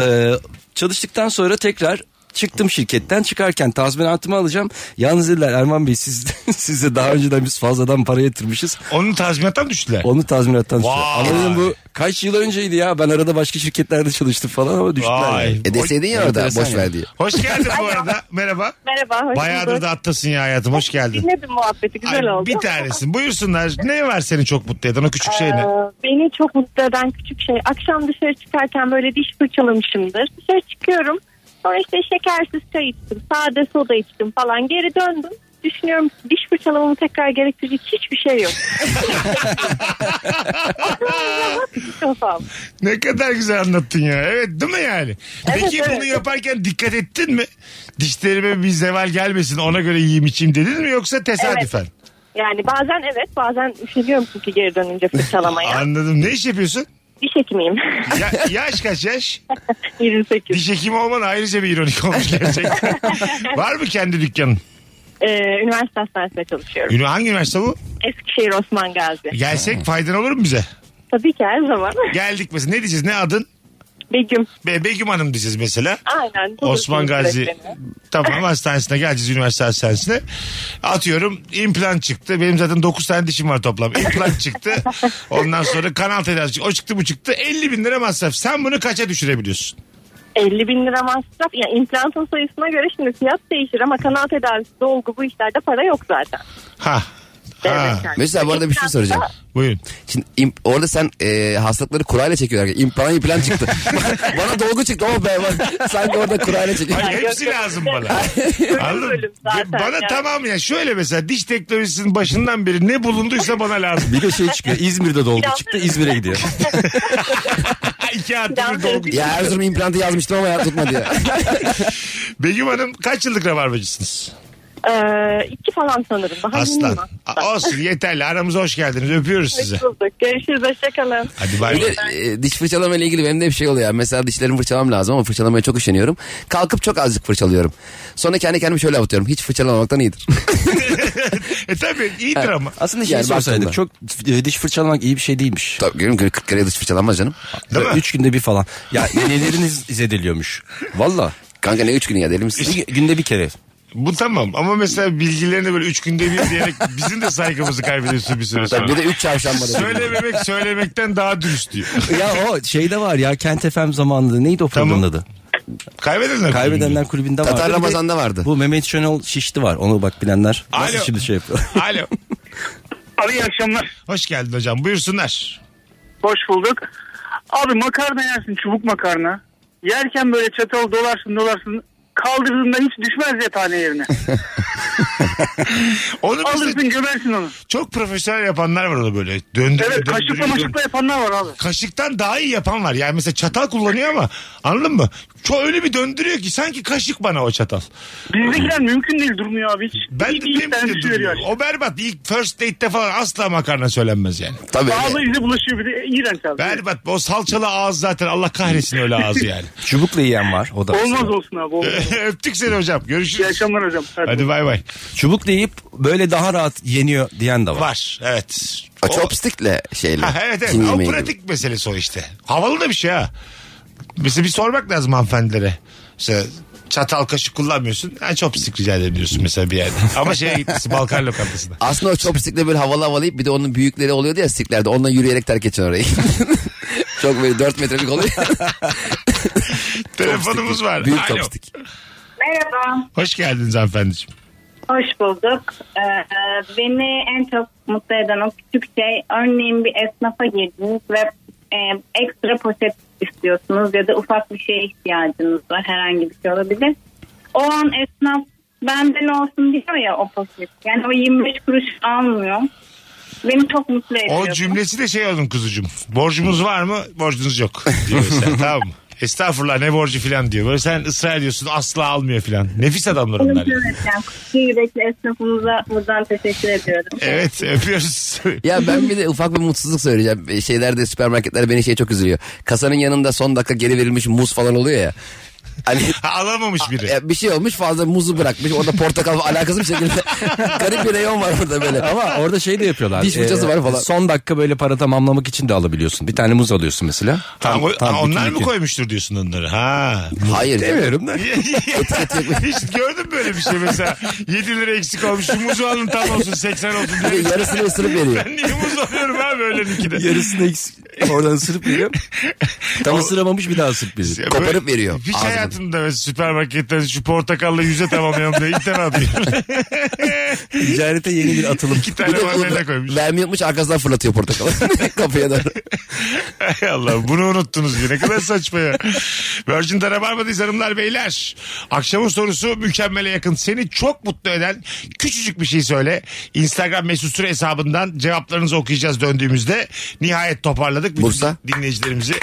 S5: Ee, çalıştıktan sonra tekrar çıktım şirketten çıkarken tazminatımı alacağım. Yalnız dediler Erman Bey siz, siz de daha önceden biz fazladan para yatırmışız.
S3: Onun tazminattan mı düştüler.
S5: Onu tazminattan düştüler.
S3: Vay.
S5: Ama dedim bu kaç yıl önceydi ya. Ben arada başka şirketlerde çalıştım falan ama düştüler.
S3: Vay.
S5: yani.
S4: E deseydin ya orada
S5: Enteresan
S4: boş ver
S5: yani.
S4: diye.
S3: Hoş geldin bu arada. Merhaba.
S6: Merhaba, hoş
S3: Bayağıdır
S6: bulduk.
S3: da attasın ya hayatım. Hoş geldin.
S6: Dinledim muhabbeti, güzel
S3: Ay,
S6: oldu.
S3: bir tanesin. Buyursunlar. Ne var seni çok mutlu eden o küçük şey
S6: Ee,
S3: ne?
S6: Beni çok mutlu eden küçük şey. Akşam dışarı çıkarken böyle diş fırçalamışımdır. Dışarı çıkıyorum. Sonra işte şekersiz çay içtim. Sade soda içtim falan. Geri döndüm. Düşünüyorum ki diş fırçalamamı tekrar gerektirecek hiçbir şey yok. Kafam.
S3: Ne kadar güzel anlattın ya. Evet değil mi yani?
S6: Evet,
S3: Peki
S6: evet.
S3: bunu yaparken dikkat ettin mi? Dişlerime bir zeval gelmesin ona göre yiyeyim içeyim dedin mi yoksa tesadüfen?
S6: yani bazen evet bazen üşeniyorum çünkü geri dönünce fırçalamaya.
S3: Anladım. Ne iş yapıyorsun?
S6: diş hekimiyim.
S3: Ya, yaş kaç yaş?
S6: 28.
S3: Diş hekimi olman ayrıca bir ironik olmuş gerçekten. var mı kendi dükkanın?
S6: Ee, üniversite hastanesinde çalışıyorum.
S3: Ünü- Hangi üniversite bu?
S6: Eskişehir Osman Gazi.
S3: Gelsek faydan olur mu bize?
S6: Tabii ki her zaman.
S3: Geldik mesela ne diyeceğiz ne adın?
S6: Begüm.
S3: Be Begüm Hanım diyeceğiz mesela.
S6: Aynen.
S3: Osman Gazi
S6: Beni.
S3: tamam hastanesine geleceğiz üniversite hastanesine. Atıyorum implant çıktı. Benim zaten 9 tane dişim var toplam. İmplant çıktı. Ondan sonra kanal tedavisi çıktı. O çıktı bu çıktı. 50 bin lira masraf. Sen bunu kaça düşürebiliyorsun?
S6: 50 bin lira masraf. Yani implantın sayısına göre şimdi fiyat değişir ama kanal tedavisi, dolgu bu işlerde para yok zaten.
S3: Ha. Ha.
S6: Devlet yani.
S4: Mesela bu arada bir şey soracağım.
S3: Buyurun.
S4: Şimdi im- orada sen e, hastalıkları kurayla çekiyorlar. İmplan implan çıktı. bana dolgu çıktı. Oh be bak. Sanki orada kurayla çekiyor.
S3: Hayır,
S6: yok,
S3: hepsi
S6: yok.
S3: lazım bana. Anladın mı?
S6: bölüm zaten
S3: Bana
S6: yani.
S3: tamam ya şöyle mesela diş teknolojisinin başından beri ne bulunduysa bana lazım.
S5: Bir de şey çıkıyor. İzmir'de dolgu çıktı. İzmir'e gidiyor.
S3: İki artı bir dolgu.
S4: Ya Erzurum implantı yazmıştım ama ya tutmadı ya.
S3: Begüm Hanım kaç yıllık rabarbacısınız?
S6: Ee, iki falan sanırım. Daha
S3: Aslan.
S6: yeniyim
S3: A- Olsun yeterli. Aramıza hoş geldiniz. Öpüyoruz sizi.
S6: Hoş bulduk. Görüşürüz. Hoşçakalın.
S3: Hadi bay
S4: Bir
S3: bay.
S4: de e, diş fırçalama ile ilgili benim de bir şey oluyor. Mesela dişlerimi fırçalamam lazım ama fırçalamaya çok üşeniyorum. Kalkıp çok azıcık fırçalıyorum. Sonra kendi kendime şöyle avutuyorum. Hiç fırçalamamaktan iyidir.
S3: E tabii iyidir ama.
S5: Aslında şey
S4: Yani
S5: sorsaydık
S4: baktığında.
S5: çok e, diş fırçalamak iyi bir şey değilmiş.
S4: Tabii görüyorum ki 40 kere diş fırçalanmaz canım.
S3: Değil
S5: Böyle
S3: mi?
S5: Üç günde bir falan. Ya neleriniz izlediliyormuş. Valla.
S4: Kanka ne 3 gün ya deli misin?
S5: Günde bir kere.
S3: Bu tamam ama mesela bilgilerini böyle üç günde bir diyerek bizim de saygımızı kaybediyorsun bir süre
S4: Tabii bir
S3: sonra.
S4: de 3 çarşamba da.
S3: Söylememek söylemekten daha dürüst diyor.
S5: Ya o şeyde var ya Kent FM zamanında neydi o
S3: Tamam.
S5: programın adı?
S3: Kaybedenler.
S5: Kaybedenler kulübünde vardı.
S4: Tatar
S5: Bir de
S4: Ramazan'da vardı.
S5: Bu Mehmet Şenol şişti var. Onu bak bilenler. Nasıl
S3: Alo.
S5: şimdi şey yapıyor?
S3: Alo.
S9: Abi iyi akşamlar.
S3: Hoş geldin hocam. Buyursunlar.
S9: Hoş bulduk. Abi makarna yersin çubuk makarna. Yerken böyle çatal dolarsın dolarsın. Kaldırdığında hiç düşmez ya tane yerine.
S3: Onu mesela
S9: Alırsın gömersin onu.
S3: çok profesyonel yapanlar var onu böyle. Döndürüyor,
S9: Evet
S3: döndürüyor,
S9: kaşıkla maşıkla
S3: döndürüyor.
S9: yapanlar var abi.
S3: Kaşıktan daha iyi yapan var. Yani mesela çatal kullanıyor ama anladın mı? Çok öyle bir döndürüyor ki sanki kaşık bana o çatal.
S9: Bizdekiler mümkün değil durmuyor abi hiç.
S3: Ben
S9: hiç,
S3: de
S9: hiç tane
S3: benim de
S9: düşüyor
S3: duruyor.
S9: yani.
S3: O berbat. İlk first date'te falan asla makarna söylenmez yani.
S4: Tabii
S9: Ağzı
S4: öyle.
S9: yüze bulaşıyor bir de iğrenç abi.
S3: Berbat. O salçalı ağız zaten Allah kahretsin öyle ağzı yani.
S5: Çubukla yiyen var. O da.
S9: Olmaz olsun abi olmaz.
S3: Öptük seni hocam.
S9: İyi
S3: Görüşürüz.
S9: akşamlar hocam.
S3: Hadi bay bay.
S5: Çubukla yiyip böyle daha rahat yeniyor diyen de var.
S3: Var. Evet.
S4: O
S3: O-
S4: chopstick'le şeyle.
S3: Ha, evet evet.
S4: Çin
S3: O
S4: yemeği gibi.
S3: pratik meselesi o işte. Havalı da bir şey ha. Mesela bir sormak lazım hanımefendilere. İşte çatal kaşık kullanmıyorsun. Ha, chopstick rica edelim diyorsun mesela bir yerde. Ama şeye gitmişsin Balkan lokantasına.
S4: Aslında o chopstick'le böyle havalı havalayıp bir de onun büyükleri oluyordu ya sticklerde. Onunla yürüyerek terk edeceksin orayı. Çok böyle 4 metrelik oluyor.
S3: Telefonumuz var.
S4: Büyük
S3: Alo.
S4: chopstick.
S6: Merhaba.
S3: Hoş geldiniz hanımefendiciğim.
S6: Hoş bulduk. Ee, beni en çok mutlu eden o küçük şey örneğin bir esnafa girdiniz ve e, ekstra poşet istiyorsunuz ya da ufak bir şeye ihtiyacınız var herhangi bir şey olabilir. O an esnaf benden olsun diyor ya o poşet. Yani o 25 kuruş almıyor. Beni çok mutlu ediyor.
S3: O cümlesi de şey oldum kuzucuğum. Borcumuz var mı? Borcunuz yok. Diyor mesela. tamam mı? Estağfurullah ne borcu filan diyor. Böyle sen ısrar ediyorsun asla almıyor filan. Nefis adamlar onlar. yani.
S6: Evet yani kuşu yürekli esnafımıza buradan teşekkür ediyorum.
S3: Evet öpüyoruz.
S4: Ya ben bir de ufak bir mutsuzluk söyleyeceğim. E, Şeylerde süpermarketler beni şey çok üzülüyor. Kasanın yanında son dakika geri verilmiş muz falan oluyor ya. Hani
S3: Ha, Alamamış biri.
S4: ya bir şey olmuş fazla muzu bırakmış. Orada portakal falan alakasız bir şekilde. Garip bir reyon var orada böyle.
S5: Ama orada şey de yapıyorlar.
S4: Diş fırçası var falan.
S5: Son dakika böyle para tamamlamak için de alabiliyorsun. Bir tane muz alıyorsun mesela.
S3: Ha, o- ha, onlar
S5: bütün
S3: mı
S5: iki.
S3: koymuştur diyorsun onları? Ha.
S4: Hayır.
S5: Demiyorum da.
S3: Hiç gördün böyle bir şey mesela. 7 lira eksik olmuş. Şu muzu alın tam olsun 80 olsun
S4: Bir
S3: diye.
S4: de Yarısını ısırıp veriyor.
S3: Ben niye muz alıyorum abi öyle nikide?
S5: Yarısını eksik. Oradan ısırıp veriyor. Tam ısıramamış bir daha ısırıp veriyor.
S3: Ya
S4: Koparıp
S3: böyle-
S4: veriyor.
S3: Hiç
S4: Ağzını.
S3: hayatımda mesela süpermarketten şu portakalla yüze tamamlayalım diye ilk defa duyuyorum.
S5: Ticarete yeni bir atılım.
S3: İki
S4: Bir
S3: tane
S4: de
S3: marmelat koymuş.
S4: vermi yapmış arkasından fırlatıyor portakalı. Kapıya doğru.
S3: Hay Allah bunu unuttunuz yine. Ne kadar saçma ya. Virgin'de Rabarba'dayız hanımlar beyler. Akşamın sorusu mükemmele yakın. Seni çok mutlu eden küçücük bir şey söyle. Instagram mesut süre hesabından cevaplarınızı okuyacağız döndüğümüzde. Nihayet toparladık. Bütün
S4: Bursa?
S3: Dinleyicilerimizi.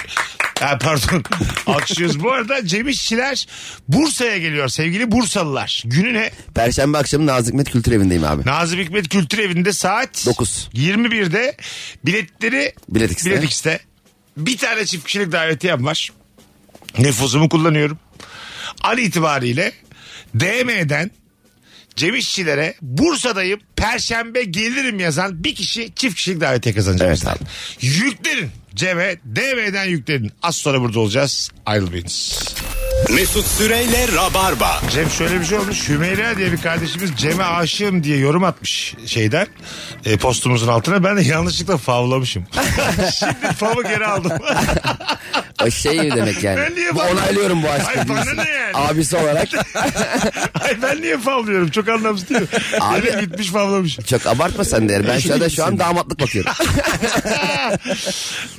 S3: Ha, pardon. Alkışlıyoruz. Bu arada Cem İşçiler Bursa'ya geliyor sevgili Bursalılar. Günü ne?
S4: Perşembe akşamı Nazım Hikmet Kültür Evi'ndeyim abi.
S3: Nazım Hikmet Kültür Evi'nde saat
S4: Dokuz.
S3: 21'de biletleri
S4: Bilet X'te.
S3: Bilet X'te. Bir tane çift kişilik davetiyem var. Nüfuzumu kullanıyorum. An itibariyle DM'den Cem İşçilere Bursa'dayım Perşembe gelirim yazan bir kişi çift kişilik davetiye kazanacak.
S4: Evet
S3: bizden.
S4: abi.
S3: Yüklerin Cem'e DM'den yüklerin. Az sonra burada olacağız. Ayrılmayınız.
S2: Mesut Süreyle Rabarba.
S3: Cem şöyle bir şey olmuş. Hümeyra diye bir kardeşimiz Cem'e aşığım diye yorum atmış şeyden e, postumuzun altına. Ben de yanlışlıkla favlamışım. Şimdi favı geri aldım.
S4: O şey demek yani.
S3: Ben niye
S4: Bu
S3: bana-
S4: onaylıyorum bu aşkı.
S3: Ay bana
S4: diyorsun.
S3: ne yani?
S4: Abisi olarak.
S3: Ay ben niye favlıyorum? Çok anlamsız değil mi?
S4: Abi-
S3: Abi. gitmiş favlamışım.
S4: Çok abartma sen de. yani. Ben şu anda şu an damatlık bakıyorum.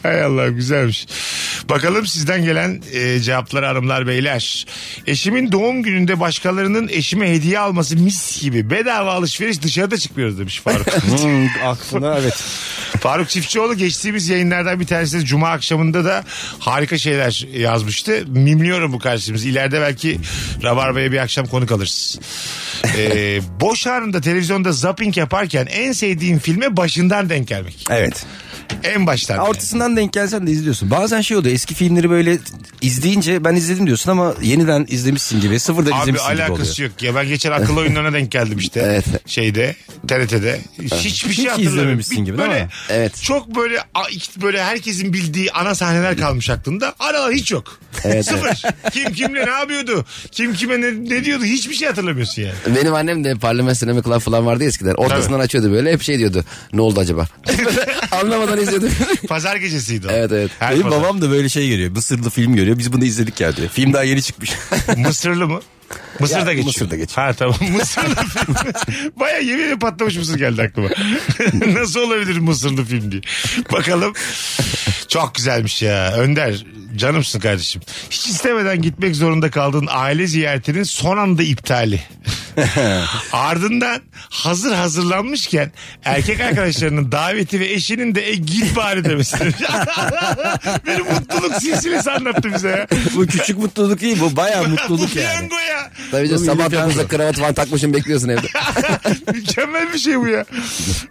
S3: Hay Allah güzelmiş. Bakalım sizden gelen e, cevapları hanımlar beyler. Eşimin doğum gününde başkalarının eşime hediye alması mis gibi. Bedava alışveriş dışarıda çıkmıyoruz demiş Faruk.
S5: aklına evet.
S3: Faruk Çiftçioğlu geçtiğimiz yayınlardan bir tanesi Cuma akşamında da harika şeyler yazmıştı. Mimliyorum bu karşımız. İleride belki Rabarba'ya bir akşam konuk alırız. Ee, boş anında televizyonda zapping yaparken en sevdiğim filme başından denk gelmek.
S5: Evet.
S3: En baştan. yani.
S5: Ortasından denk gelsen de izliyorsun. Bazen şey oluyor eski filmleri böyle izleyince ben izledim diyorsun ama yeniden izlemişsin gibi sıfırdan
S3: Abi
S5: izlemişsin gibi
S3: alakası
S5: oluyor.
S3: yok ya. Ben geçen akıl oyunlarına denk geldim işte.
S4: Evet.
S3: Şeyde, TRT'de. Hiçbir şey
S5: Hiç
S3: hatırlamıyorum.
S5: izlememişsin
S3: Bir
S5: gibi değil
S3: böyle,
S5: mi?
S4: Evet.
S3: Çok böyle a- iki- böyle herkesin bildiği ana sahneler kalmış aklımda. Aralar hiç yok. Sıfır. Kim kimle ne yapıyordu? Kim kime ne, ne diyordu? Hiçbir şey hatırlamıyorsun yani.
S4: Benim annem de Parliament Sinema Club falan vardı ya eskiden. Ortasından açıyordu böyle hep şey diyordu. Ne oldu acaba? Anlamadan izliyordum.
S3: Pazar gecesiydi o.
S4: Evet, evet.
S3: Her
S5: Benim
S3: pazar.
S5: babam da böyle şey görüyor. Mısırlı film görüyor. Biz bunu izledik ya diyor. Film daha yeni çıkmış.
S3: Mısırlı mı? Mısır'da
S5: Ya,
S3: geçiyor.
S5: Mısır'da geçiyor.
S3: Ha tamam Mısırlı film. Baya yemin ederim patlamış mısır geldi aklıma. Nasıl olabilir Mısırlı film diye. Bakalım. Çok güzelmiş ya. Önder canımsın kardeşim. Hiç istemeden gitmek zorunda kaldığın aile ziyaretinin son anda iptali. Ardından hazır hazırlanmışken erkek arkadaşlarının daveti ve eşinin de e git bari demesi. Benim mutluluk silsilesi anlattı bize ya.
S5: bu küçük mutluluk değil bu bayağı mutluluk
S3: Bu
S5: yani.
S3: piyango ya.
S4: Tabii canım
S5: Bu
S4: sabah
S5: yeni bir
S4: dokuzda kravat falan takmışım bekliyorsun evde.
S3: Mükemmel bir şey bu ya.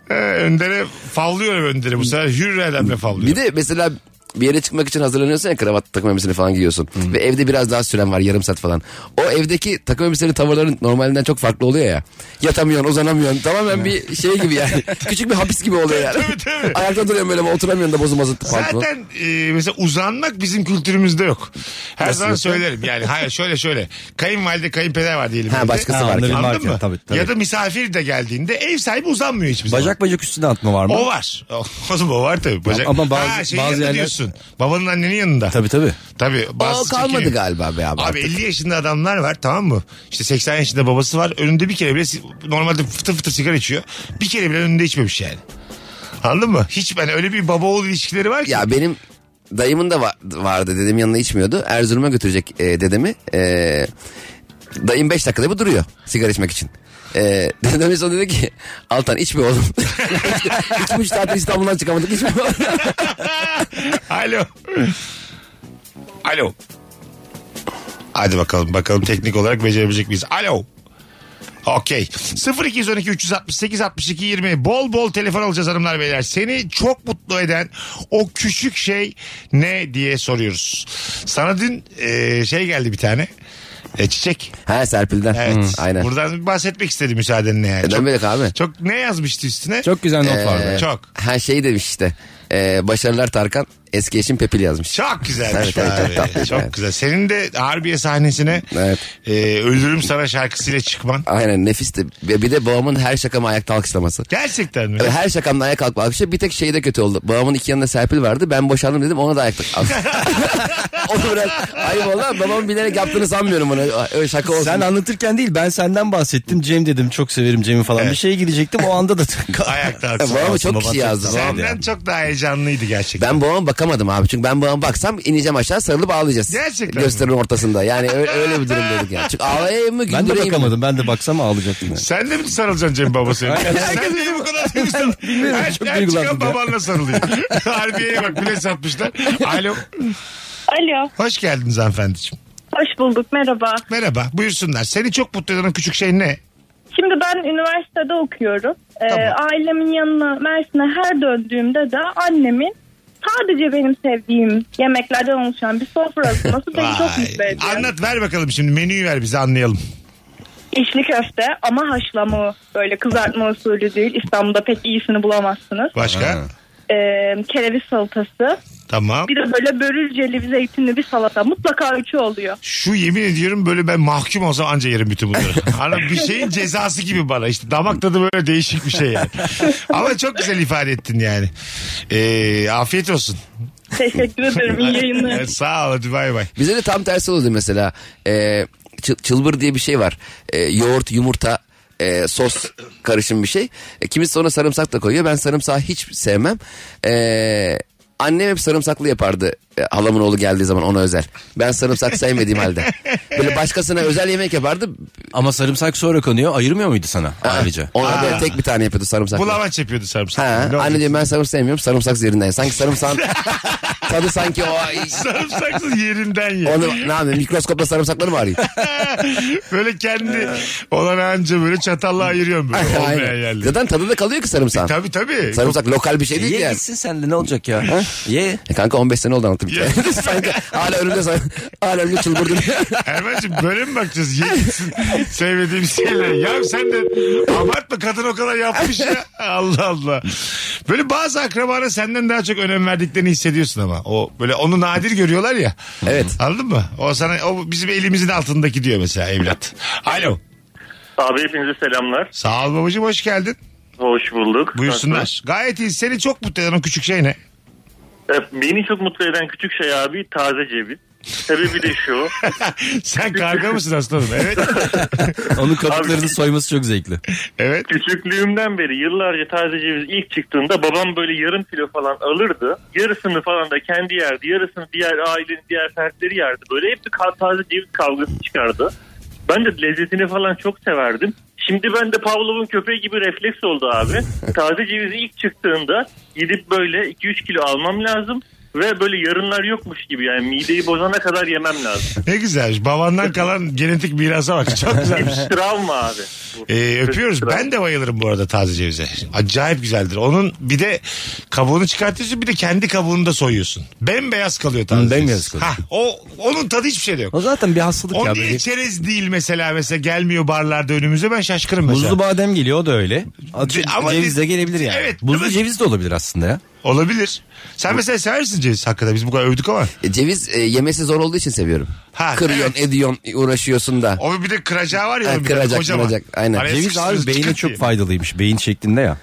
S3: Ee, öndere favlıyorum Önder'i bu sefer. Hür Erdem'le favlıyorum.
S4: Bir de mesela bir yere çıkmak için hazırlanıyorsun ya kravat takım elbiseni falan giyiyorsun. Ve evde biraz daha süren var yarım saat falan. O evdeki takım elbisenin tavırların normalinden çok farklı oluyor ya. Yatamıyorsun uzanamıyorsun tamamen bir şey gibi yani. Küçük bir hapis gibi oluyor yani.
S3: Tabii, tabii.
S4: Ayakta duruyorsun böyle oturamıyorsun da bozulmasın pantolon.
S3: Zaten e, mesela uzanmak bizim kültürümüzde yok. Her
S4: Nasıl
S3: zaman
S4: yok?
S3: söylerim yani. Hayır şöyle şöyle. Kayınvalide kayınpeder var diyelim.
S4: Ha,
S3: evde.
S4: başkası
S5: Ha,
S4: var.
S5: onların-
S4: ki.
S5: Varken,
S3: Anladın mı?
S5: tabii, tabii.
S3: Ya da misafir de geldiğinde ev sahibi uzanmıyor hiçbir zaman.
S5: Bacak bacak üstüne atma var mı?
S3: O var. Oğlum o var tabii. Bacak.
S5: Ama bazı-
S3: ha, şey
S5: bazı
S3: yanında
S5: yerler-
S3: diyorsun. Babanın annenin yanında.
S5: Tabii tabii.
S3: Tabii.
S4: O
S3: bazısı
S4: kalmadı
S3: çekiniyor.
S4: galiba be
S3: Abi
S4: abi. artık.
S3: 50 yaşında adamlar var tamam mı? İşte 80 yaşında babası var. Önünde bir kere bile si- normalde fıtır fıtır sigara içiyor. Bir kere bile önünde içmemiş yani. Anladın mı? Hiç ben öyle bir baba oğul ilişkileri var ki.
S4: Ya benim dayımın da va- vardı. Dedem yanına içmiyordu. Erzurum'a götürecek e, dedemi. E, dayım 5 dakikada bir duruyor sigara içmek için. E, dedem en son dedi ki Altan içme oğlum. 3,5 saat İstanbul'dan çıkamadık içme oğlum.
S3: Alo. Alo. Hadi bakalım bakalım teknik olarak becerebilecek miyiz? Alo. Okey. 0212 368 62 20. Bol bol telefon alacağız hanımlar beyler. Seni çok mutlu eden o küçük şey ne diye soruyoruz. Sana dün e, şey geldi bir tane. E, çiçek.
S4: Ha Serpil'den.
S3: Evet.
S4: Hı, aynen.
S3: Buradan bahsetmek istedim müsaadenle yani.
S4: Neden böyle abi?
S3: çok ne yazmıştı üstüne?
S5: Çok güzel not vardı.
S4: Ee,
S3: Çok.
S4: Ha şey demiş işte. Ee, başarılar Tarkan. Eski eşim Pepil yazmış.
S3: Çok güzelmiş
S4: Evet, evet,
S3: abi.
S4: evet, tatlı.
S3: Çok
S4: Evet.
S3: güzel. Senin de Harbiye sahnesine
S4: Evet.
S3: e, Öldürürüm Sana şarkısıyla çıkman.
S4: Aynen nefisti. Ve bir de babamın her şakama ayakta alkışlaması.
S3: Gerçekten mi?
S4: Ee, Her şakamda ayağa kalkma alkışı. Bir tek şeyde kötü oldu. Babamın iki yanında Serpil vardı. Ben boşandım dedim ona da ayakta alkış. o da biraz ayıp oldu ama babamın bilerek yaptığını sanmıyorum onu. Öyle şaka olsun.
S5: Sen anlatırken değil ben senden bahsettim. Cem dedim çok severim Cem'i falan. Bir şeye gidecektim o anda da
S3: Ayakta
S4: Ya,
S3: alsın.
S4: babama
S5: Babam
S4: çok kişi yazdı.
S5: çok-
S4: babam.
S3: Senden çok daha heyecanlıydı gerçekten.
S4: Ben babama bakamadım abi. Çünkü ben babama baksam ineceğim aşağı sarılıp ağlayacağız.
S3: Gerçekten
S4: Gösterinin ortasında. Yani öyle, öyle bir durumdaydık yani. Çünkü ağlayayım mı
S5: ben
S4: güldüreyim
S5: de
S4: mi?
S5: bakamadım. Ben de baksam ağlayacaktım. yani.
S3: Sen de mi sarılacaksın Cem Baba senin? Sen de bu kadar duygusal.
S5: bilmiyorum,
S3: Her,
S5: çok
S3: her çıkan
S5: duygulandım ya.
S3: babanla sarılıyor. Harbiye'ye bak bile satmışlar. Alo.
S6: Alo.
S3: Hoş geldiniz hanımefendiciğim.
S6: Hoş bulduk. Merhaba.
S3: Merhaba. Buyursunlar. Seni çok mutlu eden o küçük şey ne?
S6: Şimdi ben üniversitede okuyorum. Ee,
S3: Tamam.
S6: ailemin yanına Mersin'e her döndüğümde de annemin sadece benim sevdiğim yemeklerden oluşan bir sofra hazırlaması beni çok mutlu
S3: Vay.
S6: ediyor.
S3: Anlat ver bakalım şimdi menüyü ver bize anlayalım.
S6: İçli köfte ama haşlama böyle kızartma usulü değil. İstanbul'da pek iyisini bulamazsınız.
S3: Başka?
S6: Ee, kereviz salatası.
S3: Tamam.
S6: Bir de böyle börülceli zeytinli bir salata. Mutlaka üçü oluyor.
S3: Şu yemin ediyorum böyle ben mahkum olsam anca yerim bütün bunları. Hani bir şeyin cezası gibi bana işte damak tadı böyle değişik bir şey yani. Ama çok güzel ifade ettin yani. Ee, afiyet olsun.
S6: Teşekkür ederim. İyi yayınlar.
S3: Evet, sağ ol hadi bay bay.
S4: Bize de tam tersi oldu mesela. Ee, çı- çılbır diye bir şey var. Ee, yoğurt, yumurta, e, sos karışım bir şey. E, kimisi sonra sarımsak da koyuyor. Ben sarımsağı hiç sevmem. Ee, annem hep sarımsaklı yapardı. E, halamın oğlu geldiği zaman ona özel. Ben sarımsak sevmediğim halde. Böyle başkasına özel yemek yapardı.
S5: Ama sarımsak sonra konuyor. Ayırmıyor muydu sana ayrıca?
S4: Ona böyle tek bir tane yapıyordu sarımsak.
S3: Bulamaç yapıyordu sarımsak.
S4: Ha,
S3: Ne
S4: anne
S3: olacak?
S4: diyor ben sarımsak sevmiyorum sarımsak zehrinden. ye." Sanki sarımsak tadı sanki o
S3: Sarımsaksız yerinden ye.
S4: onu ne yapayım mikroskopla sarımsakları mı arayayım?
S3: böyle kendi olan anca böyle çatalla ayırıyorum böyle olmayan
S4: Aynen.
S3: yerleri.
S4: Zaten tadı da kalıyor ki sarımsağın.
S3: E, Tabii tabii.
S4: Sarımsak lokal bir şey değil ki
S5: Ye
S4: yani.
S5: gitsin sen de ne olacak ya? Ha? Ye.
S4: E kanka 15 sene oldu anlattım.
S3: Ya.
S4: Sanki hala önümde san- hala önümde çılbırdım.
S3: Erman'cığım böyle mi bakacağız? Yenisin sevmediğim şeyler. Ya sen de abartma kadın o kadar yapmış ya. Allah Allah. Böyle bazı akrabana senden daha çok önem verdiklerini hissediyorsun ama. O böyle onu nadir görüyorlar ya.
S4: Evet.
S3: Anladın mı? O sana o bizim elimizin altındaki diyor mesela evlat. Alo.
S8: Abi hepinize selamlar.
S3: Sağ ol babacığım hoş geldin.
S8: Hoş bulduk.
S3: Buyursunlar. Gayet iyi. Seni çok mutlu eden o küçük şey ne?
S8: Ee, Beni çok mutlu eden küçük şey abi taze ceviz. Sebebi de şu.
S3: Sen karga mısın aslanım? Evet.
S5: Onun kabuklarını soyması çok zevkli.
S3: Evet.
S8: Küçüklüğümden beri yıllarca taze ceviz ilk çıktığında babam böyle yarım kilo falan alırdı. Yarısını falan da kendi yerdi. Yarısını diğer ailenin diğer fertleri yerdi. Böyle hep bir ka- taze ceviz kavgası çıkardı. Ben de lezzetini falan çok severdim. Şimdi ben de Pavlov'un köpeği gibi refleks oldu abi. Taze cevizi ilk çıktığında gidip böyle 2-3 kilo almam lazım. Ve böyle yarınlar yokmuş gibi yani mideyi bozana kadar yemem lazım.
S3: Ne güzelmiş. Babandan kalan genetik mirasa bak. Çok güzelmiş.
S8: Travma abi. bu.
S3: Ee, öpüyoruz.
S8: Travma.
S3: Ben de bayılırım bu arada taze cevize. Acayip güzeldir. Onun bir de kabuğunu çıkartıyorsun bir de kendi kabuğunu da soyuyorsun. Bembeyaz kalıyor taze
S5: Hı,
S3: ceviz.
S5: bembeyaz kalıyor.
S3: Ha, o, onun tadı hiçbir şeyde yok.
S5: O zaten bir hastalık
S3: O
S5: ya.
S3: niye
S5: böyle.
S3: çerez değil mesela mesela gelmiyor barlarda önümüze ben şaşkınım mesela.
S5: Buzlu badem geliyor o da öyle. Atı,
S3: Ce- ama biz-
S5: ceviz de gelebilir yani.
S3: Evet,
S5: Buzlu
S3: evet.
S5: ceviz de olabilir aslında ya.
S3: Olabilir. Sen mesela seversin ceviz hakikaten biz bu kadar övdük ama.
S4: E, ceviz e, yemesi zor olduğu için seviyorum.
S3: Ha,
S4: Kırıyorsun, ediyorsun, uğraşıyorsun da.
S3: O bir de kıracağı var ya.
S4: Ha,
S3: onun bir de
S4: kıracak,
S3: kocaman.
S4: kıracak. Aynen.
S3: Araya
S5: Ceviz
S3: sıkıştırırız,
S5: abi beyne
S3: çıkırt
S5: çok
S3: diye.
S5: faydalıymış. Beyin şeklinde ya.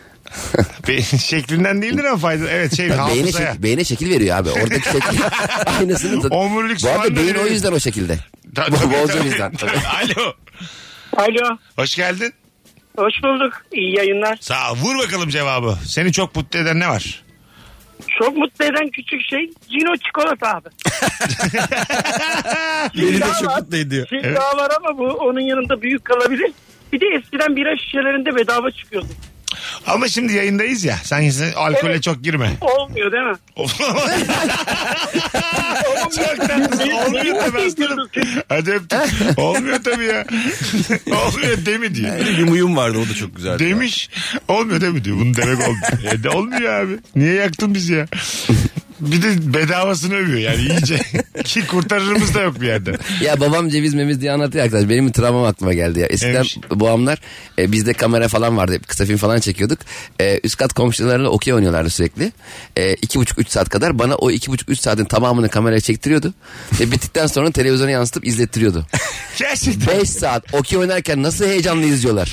S3: Be- şeklinden değildir ama faydalı. Evet şey
S4: Beyne,
S3: hafızaya.
S4: şekil, beyne şekil veriyor abi. Oradaki şekil aynısını tadı.
S3: Omurilik
S4: Bu
S3: soğanla
S4: arada beyin o
S3: veriyor.
S4: yüzden o şekilde.
S3: Ta-
S4: Bol-
S3: tabii,
S4: Bol
S3: tabii.
S4: cevizden. tabii.
S3: Alo.
S9: Alo.
S3: Hoş geldin.
S9: Hoş bulduk. İyi yayınlar.
S3: Sağ ol. Vur bakalım cevabı. Seni çok mutlu eden ne var?
S9: Çok mutlu eden küçük şey Cino çikolata abi.
S5: Beni de çok mutlu ediyor.
S9: Şey daha var ama bu onun yanında büyük kalabilir. Bir de eskiden bira şişelerinde bedava çıkıyordu.
S3: Ama şimdi yayındayız ya. Sen sen alkole
S9: Evet.
S3: çok girme.
S9: Olmuyor değil mi?
S3: çok tatlısın. Olmuyor tabii aslanım. Hadi öptüm. Olmuyor tabii ya. Olmuyor demi diyor.
S5: Yumuyum vardı o da çok güzeldi.
S3: Demiş. Olmuyor değil mi diyor. Bunu demek olmuyor. E de olmuyor abi. Niye yaktın bizi ya? Bir de bedavasını övüyor yani iyice. Ki kurtarırımız da yok bir yerden.
S4: Ya babam ceviz memiz diye anlatıyor arkadaş. Benim bir travmam aklıma geldi ya. Eskiden
S3: Neymiş?
S4: babamlar e, bizde kamera falan vardı. Hep kısa film falan çekiyorduk. E, üst kat komşularıyla okey oynuyorlardı sürekli. E, iki buçuk üç saat kadar bana o iki buçuk üç saatin tamamını kameraya çektiriyordu. Ve bittikten sonra televizyona yansıtıp izlettiriyordu.
S3: Gerçekten.
S4: 5 saat okey oynarken nasıl heyecanlı izliyorlar.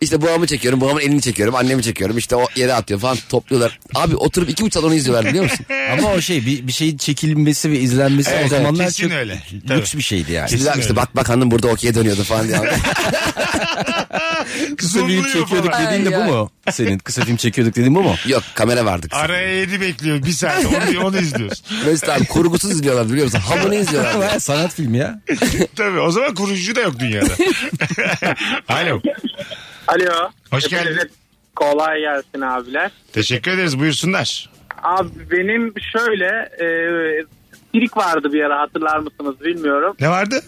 S4: İşte babamı çekiyorum, babamın elini çekiyorum, annemi çekiyorum. işte o yere atıyor falan topluyorlar. Abi oturup iki buçuk saat onu izliyorlar biliyor musun?
S5: Ama o şey bir, bir şeyin çekilmesi ve izlenmesi
S3: Evet,
S5: o zamanlar
S3: kesin
S5: çok
S3: öyle.
S5: lüks
S3: Tabii.
S5: bir şeydi yani.
S3: Kesin.
S4: Şimdi işte bak bak hanım burada okey dönüyordu falan diye.
S5: Kısa film
S3: Zoomluyor
S5: çekiyorduk
S3: falan.
S5: dediğin de bu mu? Senin kısa film çekiyorduk dediğin bu mu?
S4: Yok kamera vardı. kısa.
S3: Araya yedi bekliyor bir saat. Onu, onu izliyorsun.
S4: Mesut abi kurgusuz izliyorlar biliyor musun? Hamını izliyorlar.
S5: Ha, Sanat filmi ya.
S3: Tabii o zaman kurucu da yok dünyada. Alo.
S9: Alo.
S3: Hoş geldin.
S9: Hepinize Kolay gelsin abiler.
S3: Teşekkür ederiz buyursunlar.
S9: Abi benim şöyle e, hüptirik vardı bir ara hatırlar mısınız bilmiyorum.
S3: Ne vardı?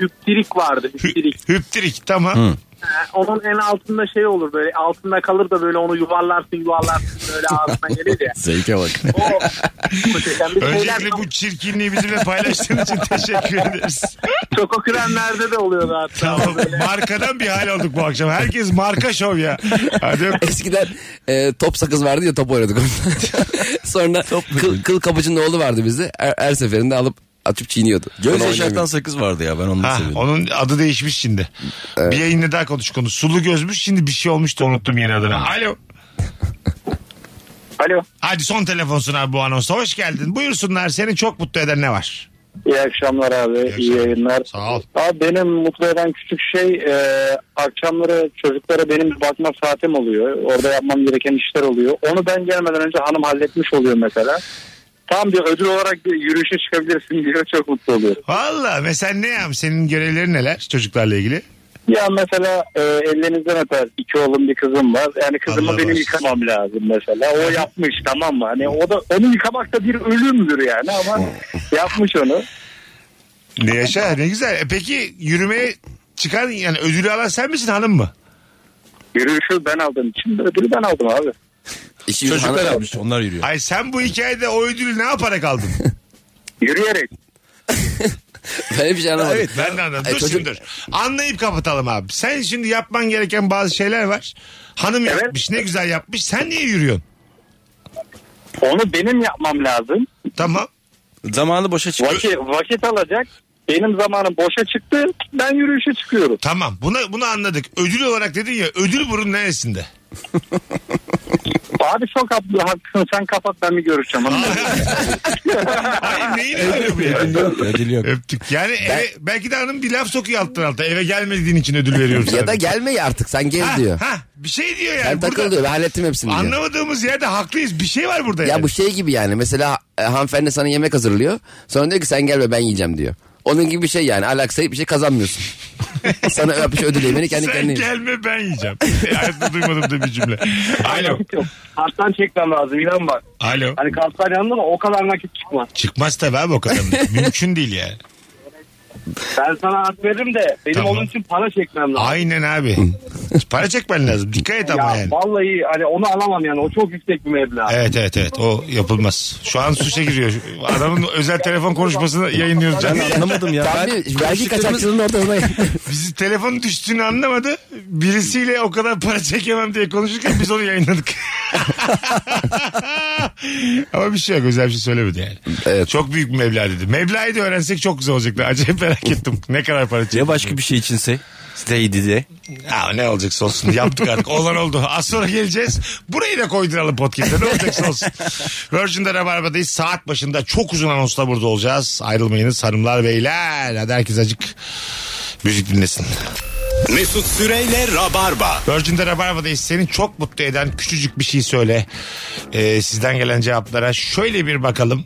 S9: Hüptirik vardı hüptirik.
S3: Hü- hüptirik tamam.
S9: Ha, Ee, Onun en altında şey olur böyle altında kalır da böyle onu yuvarlarsın yuvarlarsın böyle ağzına gelir ya.
S5: Zevke bak.
S9: O muhteşem bir şeyler.
S3: Öncelikle bu çirkinliği bizimle paylaştığın için teşekkür ederiz.
S9: Çoko kremlerde de oluyordu hatta.
S3: Tamam. Markadan bir hal olduk bu akşam. Herkes marka şov ya. Hadi öptük.
S4: Eskiden e, top sakız vardı ya top oynadık. onunla. Sonra kıl, kıl kapıcının oğlu vardı bizde. Her, her seferinde alıp atıp çiğniyordu.
S5: Göz
S4: Onu
S5: yaşartan
S4: oynamıyor.
S5: sakız vardı ya ben onu da
S3: Ha,
S5: seviyordum.
S3: onun adı değişmiş şimdi. Bir yayında daha konuş konu. Sulu gözmüş şimdi bir şey olmuştu unuttum yeni adını. Alo.
S9: Alo.
S3: Hadi son telefonsun abi bu anonsa. Hoş geldin. Buyursunlar seni çok mutlu eden ne var?
S9: İyi akşamlar abi.
S3: akşamlar.
S9: İyi yayınlar.
S3: Sağ ol.
S9: Abi benim mutlu eden küçük şey e, akşamları çocuklara benim bir bakma saatim oluyor. Orada yapmam gereken işler oluyor. Onu ben gelmeden önce hanım halletmiş oluyor mesela. Tam bir ödül olarak bir yürüyüşe çıkabilirsin diyor. Çok mutlu oluyorum.
S3: Valla mesela ne yap? Senin görevlerin neler çocuklarla ilgili?
S9: Ya mesela e, ellerinizden öper. İki oğlum bir kızım var. Yani kızımı
S3: Allah
S9: benim
S3: bağışlasın.
S9: yıkamam lazım mesela. O yapmış tamam mı? Hani o da onu yıkamak da bir ölümdür yani ama yapmış onu.
S3: Ne yaşa ne güzel. E peki yürümeye çıkan yani ödülü alan sen misin hanım mı?
S9: Yürüyüşü ben aldım. Şimdi ödülü ben aldım abi.
S4: İşi yüzü
S5: Çocuklar
S4: hanım-
S5: almış onlar yürüyor.
S3: Ay sen bu hikayede o ödülü ne yaparak aldın?
S9: Yürüyerek.
S4: Ben hiçbir şey anlamadım.
S3: Evet ben de anladım.
S4: Ay,
S3: dur
S4: çocuk-
S3: şimdi dur. Anlayıp kapatalım abi. Sen şimdi yapman gereken bazı şeyler var. Hanım
S9: Evet.
S3: yapmış ne güzel yapmış. Sen niye yürüyorsun?
S9: Onu benim yapmam lazım.
S3: Tamam.
S5: Zamanı boşa çıkıyor.
S9: Vakit, vakit alacak. Benim zamanım boşa çıktı. Ben yürüyüşe çıkıyorum.
S3: Tamam. Buna, bunu anladık. Ödül olarak dedin ya ödül burun neresinde?
S9: Abi çok haklı- haklısın. Sen kapat ben bir görüşeceğim.
S3: Ay neyin ödülü bu ya?
S5: Ödül yok.
S3: Öptük. Yani eve- belki de hanım bir laf sokuyor alttan alta. Eve gelmediğin için ödül veriyoruz.
S4: Ya da gelme ya artık sen gez diyor.
S3: Ha, bir şey diyor yani.
S4: Ben
S3: Burada
S4: takıl diyor ben hallettim hepsini diyor.
S3: Anlamadığımız yerde haklıyız. Bir şey var burada yani.
S4: Ya bu şey gibi yani mesela e, hanımefendi sana yemek hazırlıyor. Sonra diyor ki sen gelme ben yiyeceğim diyor. Onun gibi bir şey yani alakasız bir şey kazanmıyorsun. sana yapmış ödül yemeğini kendi
S3: Sen
S4: kendine. yiyorsun.
S3: gelme ben yiyeceğim. Hayatımda duymadım da bir cümle. Alo.
S9: Karttan çekmem lazım inan bak.
S3: Alo.
S9: Hani kartlar yanında da o kadar nakit çıkmaz.
S3: Çıkmaz tabii abi o kadar. Mümkün değil yani.
S9: Ben sana hak veririm de benim
S3: Tamam.
S9: onun için para çekmem lazım.
S3: Aynen abi. Para çekmen lazım. Dikkat et ama
S9: ya
S3: yani.
S9: vallahi hani onu alamam yani o çok yüksek bir meblağ.
S3: Evet evet evet o yapılmaz. Şu an suça giriyor. Adamın özel telefon konuşmasını yayınlıyoruz
S5: Ben
S3: canım.
S5: anlamadım ya.
S4: Tabii
S5: Ben-
S4: vergi kaçakçılığının ortasına
S3: Bizi telefonun düştüğünü anlamadı. Birisiyle o kadar para çekemem diye konuşurken biz onu yayınladık. Ama bir şey yok özel bir şey söylemedi yani.
S4: Evet.
S3: Çok büyük bir meblağ dedi. Meblağı da öğrensek çok güzel olacaktı. Acayip merak ettim. Ne kadar para çekti.
S5: Ya başka bir şey içinse? Staydi de.
S3: Ya ne olacaksa olsun yaptık artık olan oldu. Az sonra geleceğiz. Burayı da koyduralım podcast'e ne olacaksa olsun. Virgin'de Rabarba'dayız. Saat başında çok uzun anonsla burada olacağız. Ayrılmayınız hanımlar beyler. Hadi herkes acık müzik dinlesin.
S2: Mesut Süreyle Rabarba.
S3: Virgin'de Rabarba'dayız. Seni çok mutlu eden küçücük bir şey söyle. Ee, sizden gelen cevaplara şöyle bir bakalım.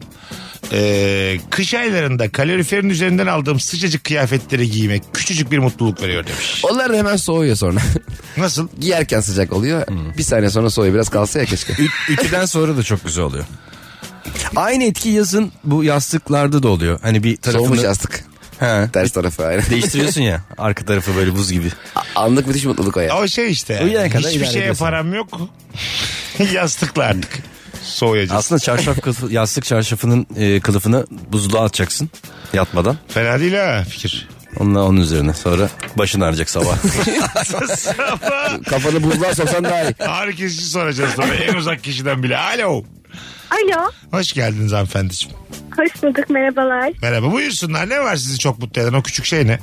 S3: Ee, kış aylarında kaloriferin üzerinden aldığım sıcacık kıyafetleri giymek küçücük bir mutluluk veriyor demiş.
S4: Onlar da hemen soğuyor sonra.
S3: Nasıl?
S4: Giyerken sıcak oluyor.
S3: Hmm.
S4: Bir saniye sonra soğuyor. Biraz kalsa ya keşke.
S5: Ü- Ütüden sonra da çok güzel oluyor. Aynı etki yazın bu yastıklarda da oluyor. Hani bir tarafını...
S4: Soğumuş yastık.
S5: He.
S4: Ters tarafı aynen.
S5: Değiştiriyorsun ya. Arka tarafı böyle buz gibi.
S4: Anlık müthiş mutluluk o ya.
S3: O şey işte.
S5: Uyuyana kadar
S3: Hiçbir
S5: idare
S3: şeye
S5: ediyorsun.
S3: param yok. Yastıkla artık. Soğuyacağız.
S5: Aslında çarşaf kılıfı, yastık çarşafının e, kılıfını buzluğa atacaksın yatmadan.
S3: Fena değil ha fikir.
S5: Onunla onun üzerine. Sonra başın ağrıyacak sabah.
S3: Ama
S4: Kafanı buzluğa soksan daha iyi.
S3: ağrı kesici soracağız sonra en uzak kişiden bile. Alo.
S10: Alo.
S3: Hoş geldiniz hanımefendiciğim.
S10: Hoş bulduk merhabalar.
S3: Merhaba buyursunlar. Ne var sizi çok mutlu eden o küçük şey ne?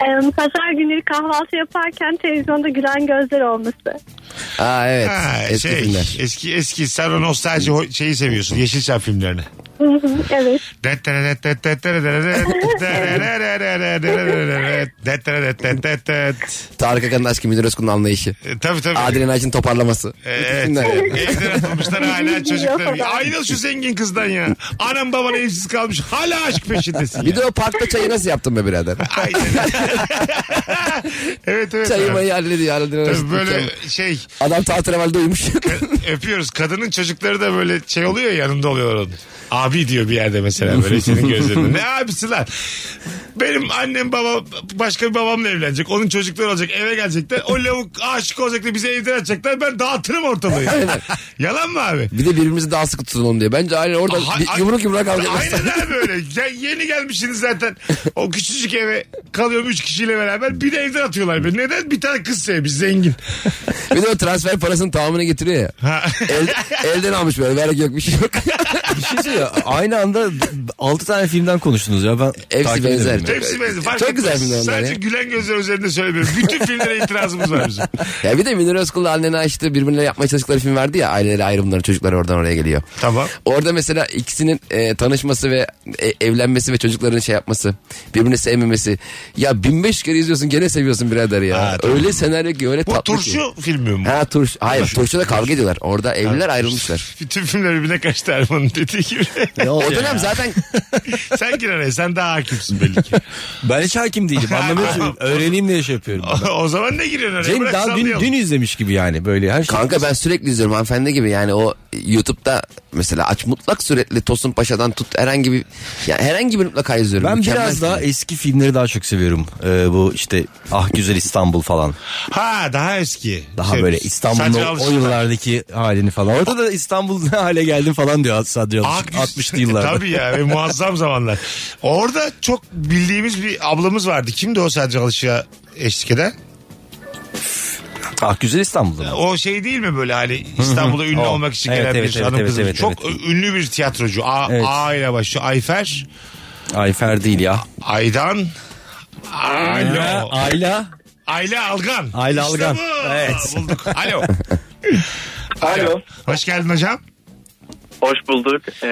S10: Ee, pazar günleri kahvaltı yaparken televizyonda gülen gözler olması.
S4: Aa evet.
S3: Ha,
S4: Eski
S3: şey,
S4: filmler.
S3: Eski eski sen o nostalji ho- şeyi seviyorsun. Yeşilçam filmlerini.
S10: Hı hı, evet.
S4: Tarık Akan'ın aşkı Münir Özkul'un anlayışı.
S3: Tabii E, tabii.
S4: Adil Naç'ın toparlaması.
S3: Evet.
S4: Filmler yani.
S3: Evden atılmışlar hala çocuklar. Ayrıl şu zengin kızdan ya. Anam baban evsiz kalmış. Hala aşk peşindesin ya.
S4: Bir de o parkta çayı nasıl yaptın be birader?
S3: Aynen. evet evet.
S4: Çayı mayı hallediyor. hallediyor.
S3: Tabii böyle şey
S4: Adam tahterevelde uyumuş.
S3: öpüyoruz. Kadının çocukları da böyle şey oluyor ya, yanında oluyor onun. Abi diyor bir yerde mesela böyle senin gözlerinde. ne abisi lan? Benim annem babam başka bir babamla evlenecek. Onun çocukları olacak eve gelecekler. O lavuk aşık olacak da bizi evden atacaklar. Ben dağıtırım ortalığı. Yalan mı abi?
S4: bir de birbirimizi daha sıkı tutalım diye. Bence aynen orada
S3: Ha-
S4: bir yumruk yumruğa kavga etmezler.
S3: Aynen abi öyle. Ya yeni gelmişsiniz zaten. O küçücük eve kalıyorum üç kişiyle beraber. Bir de evden atıyorlar beni. Neden? Bir tane kız sevmiş zengin.
S4: Bir de o transfer parasının tamamını getiriyor ya.
S3: Ha.
S4: El, elden almış böyle. Vergi yok bir şey yok.
S5: bir şey söyleyeyim. Aynı anda 6 tane filmden konuştunuz ya. Ben
S4: Hepsi
S5: takip
S4: benzer.
S5: ediyorum ya.
S3: Hepsi benziyor. Fark
S4: Çok
S3: etmez.
S4: güzel filmler onlar
S3: Sadece
S4: ya.
S3: gülen gözler üzerinde söylemiyorum. Bütün filmlere itirazımız var bizim.
S4: ya bir de Münir Özkul'la annene açtı birbirine yapmaya çalıştıkları film vardı ya. Aileleri ayrımları çocuklar oradan oraya geliyor.
S3: Tamam.
S4: Orada mesela ikisinin e, tanışması ve e, evlenmesi ve çocukların şey yapması. Birbirini sevmemesi. Ya 1005 kere izliyorsun gene seviyorsun birader ya.
S3: Ha, tamam.
S4: Öyle senaryo ki öyle
S3: Bu
S4: tatlı ki.
S3: turşu filmi mi? bu?
S4: Ha turşu. Hayır turşuda kavga ediyorlar. Orada evliler ayrılmışlar.
S3: Bütün filmler birbirine kaçtı Erman'ın dediği gibi.
S4: O dönem zaten
S3: sen gir araya sen daha hakimsin belli ki.
S5: Ben hiç hakim değilim. Anlamıyorsun. Öğreneyim diye şey yapıyorum.
S3: o zaman ne giriyorsun araya?
S5: Cem
S3: Bırak
S5: daha dün,
S3: sallayalım.
S5: dün izlemiş gibi yani böyle her şey.
S4: kanka ben sürekli izliyorum hanımefendi gibi. Yani o YouTube'da mesela aç mutlak sürekli Tosun Paşa'dan tut herhangi bir yani herhangi bir mutlaka izliyorum.
S5: Ben
S4: Mükemmel
S5: biraz
S4: film.
S5: daha eski filmleri daha çok seviyorum. Ee, bu işte Ah Güzel İstanbul falan.
S3: Ha daha eski.
S5: Daha
S3: Şey,
S5: böyle İstanbul'un
S3: Sadri
S5: o- o,
S3: Alışık'tan.
S5: yıllardaki halini falan. Orada da İstanbul ne hale geldi falan diyor Sadri
S3: Ah,
S5: Alışık.
S3: güzel.
S5: 60'lı yıllarda.
S3: Tabii ya ve muazzam zamanlar. Orada çok bildiğimiz bir ablamız vardı. Kimdi o sadece alışığa eşlik eden?
S5: Ah Güzel İstanbul'da mı?
S3: O şey değil mi böyle hani İstanbul'a ünlü
S5: O.
S3: olmak için
S5: Evet,
S3: gelen
S5: evet,
S3: bir
S5: evet,
S3: hanım
S5: evet,
S3: kızı.
S5: evet,
S3: çok ünlü bir tiyatrocu. A,
S5: Evet.
S3: A ile başlıyor. Ayfer,
S5: Ayfer değil ya.
S3: Aydan, Alo.
S5: Ayla.
S3: Ayla Algan.
S5: Ayla
S3: İşte
S5: Algan.
S3: bu.
S5: Evet.
S3: Bulduk. Alo.
S9: Alo.
S3: Hoş geldin hocam.
S9: Hoş bulduk. Ee,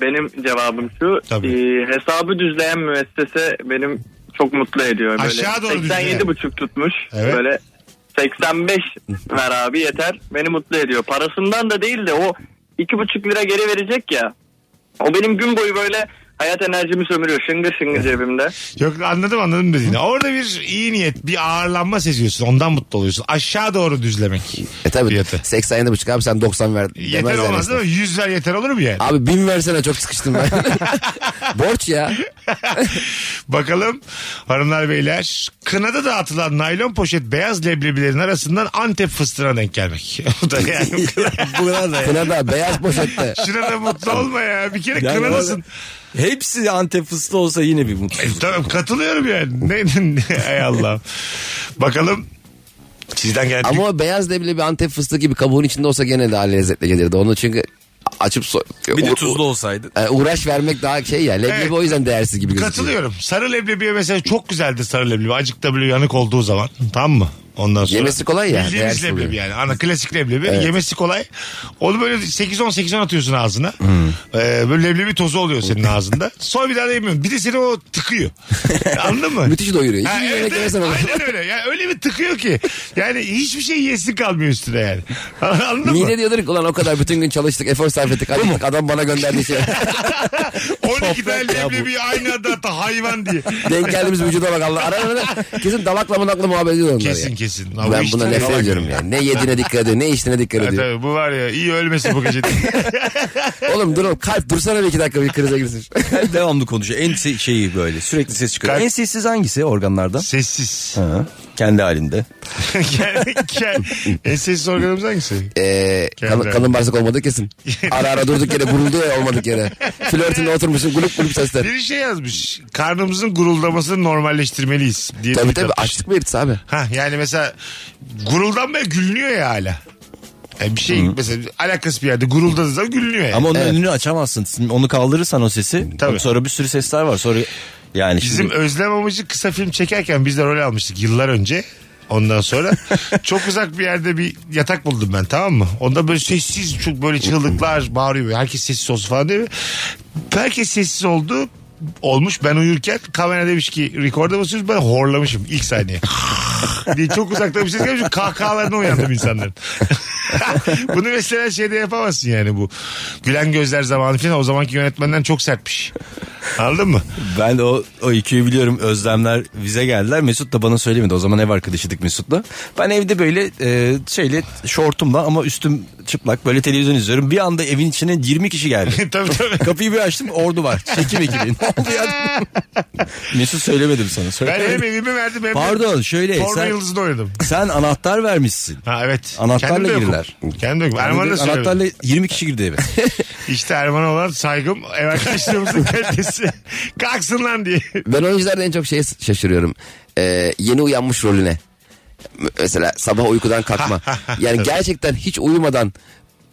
S9: benim cevabım şu.
S3: Tabii.
S9: Ee, hesabı düzleyen müessese benim çok mutlu ediyor. Böyle
S3: Aşağı doğru düzleyen.
S9: 87 buçuk tutmuş.
S3: Evet.
S9: Böyle 85 ver abi yeter. Beni mutlu ediyor. Parasından da değil de o iki buçuk lira geri verecek ya. O benim gün boyu böyle hayat enerjimi sömürüyor. Şıngır şıngır cebimde.
S3: Yok anladım anladım dediğini. Orada bir iyi niyet, bir ağırlanma seziyorsun. Ondan mutlu oluyorsun. Aşağı doğru düzlemek.
S4: E tabii
S3: Fiyatı.
S4: 87,5 abi sen 90 ver.
S3: Yeter
S4: demez yani
S3: olmaz değil mi? 100 ver yeter olur mu yani?
S4: Abi bin versene çok sıkıştım ben. Borç ya.
S3: Bakalım hanımlar beyler. Kınada dağıtılan naylon poşet beyaz leblebilerin arasından Antep fıstığına denk gelmek. Bu da yani bu kadar.
S4: Kına da beyaz poşette.
S3: Şuna da mutlu olma ya. Bir kere
S5: Yani
S3: kınadasın.
S5: orada- Hepsi Antep fıstığı olsa yine bir mutlu.
S3: E, tamam katılıyorum yani. Ne, ne, ay Allah. Bakalım. Sizden gelen
S4: Ama o beyaz leblebi bir Antep fıstığı gibi kabuğun içinde olsa gene daha lezzetli gelirdi. Onu çünkü açıp so-
S5: Bir de
S4: u-
S5: tuzlu olsaydı.
S4: e, uğraş vermek daha şey ya. Leblebi
S3: Evet.
S4: o yüzden değersiz gibi gözüküyor.
S3: Katılıyorum. Sarı leblebiye mesela çok güzeldir sarı leblebi. Acık da böyle yanık olduğu zaman. Tamam mı? Ondan sonra.
S4: Yemesi kolay ya,
S3: Bildiğimiz
S4: değersiz
S3: leblebi
S4: oluyor.
S3: yani. Ana klasik leblebi. Yemesi kolay. Onu böyle 8-10-8-10 atıyorsun ağzına.
S4: Hmm.
S3: Ee, böyle leblebi tozu oluyor senin ağzında. Sonra bir daha da yemiyorsun. Bir de seni o tıkıyor. Anladın mı?
S4: Müthiş doyuruyor. İki
S3: Ha,
S4: gün
S3: evet,
S4: yemek
S3: evet.
S4: yemesen olur.
S3: Aynen öyle. Yani öyle bir tıkıyor ki. Yani hiçbir şey yesin kalmıyor üstüne yani. Anladın mı?
S4: Mide diyordur ki ulan o kadar bütün gün çalıştık, efor sarf ettik. acıktık, adam bana gönderdi şey.
S3: 12 tane leblebi aynı adı hatta hayvan diye.
S4: Denk geldiğimiz vücuda bak Allah. Ara ara kesin dalakla manakla muhabbet ediyor onlar
S3: Kesin
S4: ya.
S3: kesin. Ama
S4: Ben
S3: işte
S4: buna nefret
S3: salak
S4: ediyorum ya. Ne yediğine dikkat ediyor, ne içtiğine dikkat
S3: Ha,
S4: ediyor.
S3: tabii, bu var ya iyi ölmesin bu gece.
S4: Oğlum dur oğlum kalp dursana bir iki dakika bir krize girsin.
S5: Devamlı konuşuyor. En se- şeyi böyle sürekli ses çıkıyor.
S3: Kalp-
S5: En sessiz hangisi organlardan?
S3: Sessiz.
S5: Ha, kendi halinde.
S3: E, Yani- yani- en sessiz organımız hangisi?
S4: Ee, kalın,
S3: Kendi.
S4: kalın bağırsak olmadı kesin. Ara ara durduk yere guruldu ya olmadık yere. Flörtünde oturmuşsun gulup gulup sesler.
S3: Biri şey yazmış. Karnımızın guruldamasını normalleştirmeliyiz. Diye
S4: Tabii
S3: tweet
S4: tabii
S3: atmış.
S4: açlık belirtisi abi.
S3: Ha yani mesela guruldanmaya gülünüyor ya hala. Yani bir şey mesela alakası bir yerde guruldadığı zaman gülünüyor yani.
S5: Ama onun önünü açamazsın. Şimdi Onu kaldırırsan o sesi.
S3: Tabii.
S5: Sonra bir sürü sesler var. Sonra yani
S3: Bizim
S5: şimdi
S3: Özlem Amacı kısa film çekerken biz de rol almıştık yıllar önce. Ondan sonra çok uzak bir yerde bir yatak buldum ben tamam mı? Onda böyle sessiz çok böyle çığlıklar bağırıyor. Herkes sessiz olsun falan değil mi? Herkes sessiz oldu. Olmuş ben uyurken kamera demiş ki rekorda basıyoruz ben horlamışım ilk saniye. diye çok uzaktan bir ses gelmiş kahkahalarına uyandım insanların. Bunu mesela şeyde yapamazsın yani bu. Gülen gözler zamanı falan o zamanki yönetmenden çok sertmiş. Anladın mı?
S5: ben de o, o ikiyi biliyorum. Özlemler bize geldiler. Mesut da bana söylemedi. O zaman ev arkadaşıydık Mesut'la. Ben evde böyle e, şeyle şortumla ama üstüm çıplak böyle televizyon izliyorum. Bir anda evin içine 20 kişi geldi.
S3: tabii tabii.
S5: Kapıyı bir açtım ordu var. Çekim ekibi. Ne oldu ya? Mesut söylemedim sana.
S3: Ben
S5: Söylemedim.
S3: hem evimi verdim hem de
S5: Pardon şöyle
S3: Porno
S5: sen,
S3: yıldızını oynadım.
S5: sen anahtar vermişsin.
S3: Ha evet.
S5: Anahtarla
S3: Kendim de yokum.
S5: girdiler.
S3: Kendim de yokum. Erman'a da söylemedim.
S5: anahtarla 20 kişi girdi eve.
S3: İşte Erman'a olan saygım ev arkadaşlarımızın kalitesi. Kalksın lan diye.
S4: Ben oyuncularda en çok şeye şaşırıyorum. Ee, yeni uyanmış rolüne. M- Mesela sabah uykudan kalkma. Yani gerçekten hiç uyumadan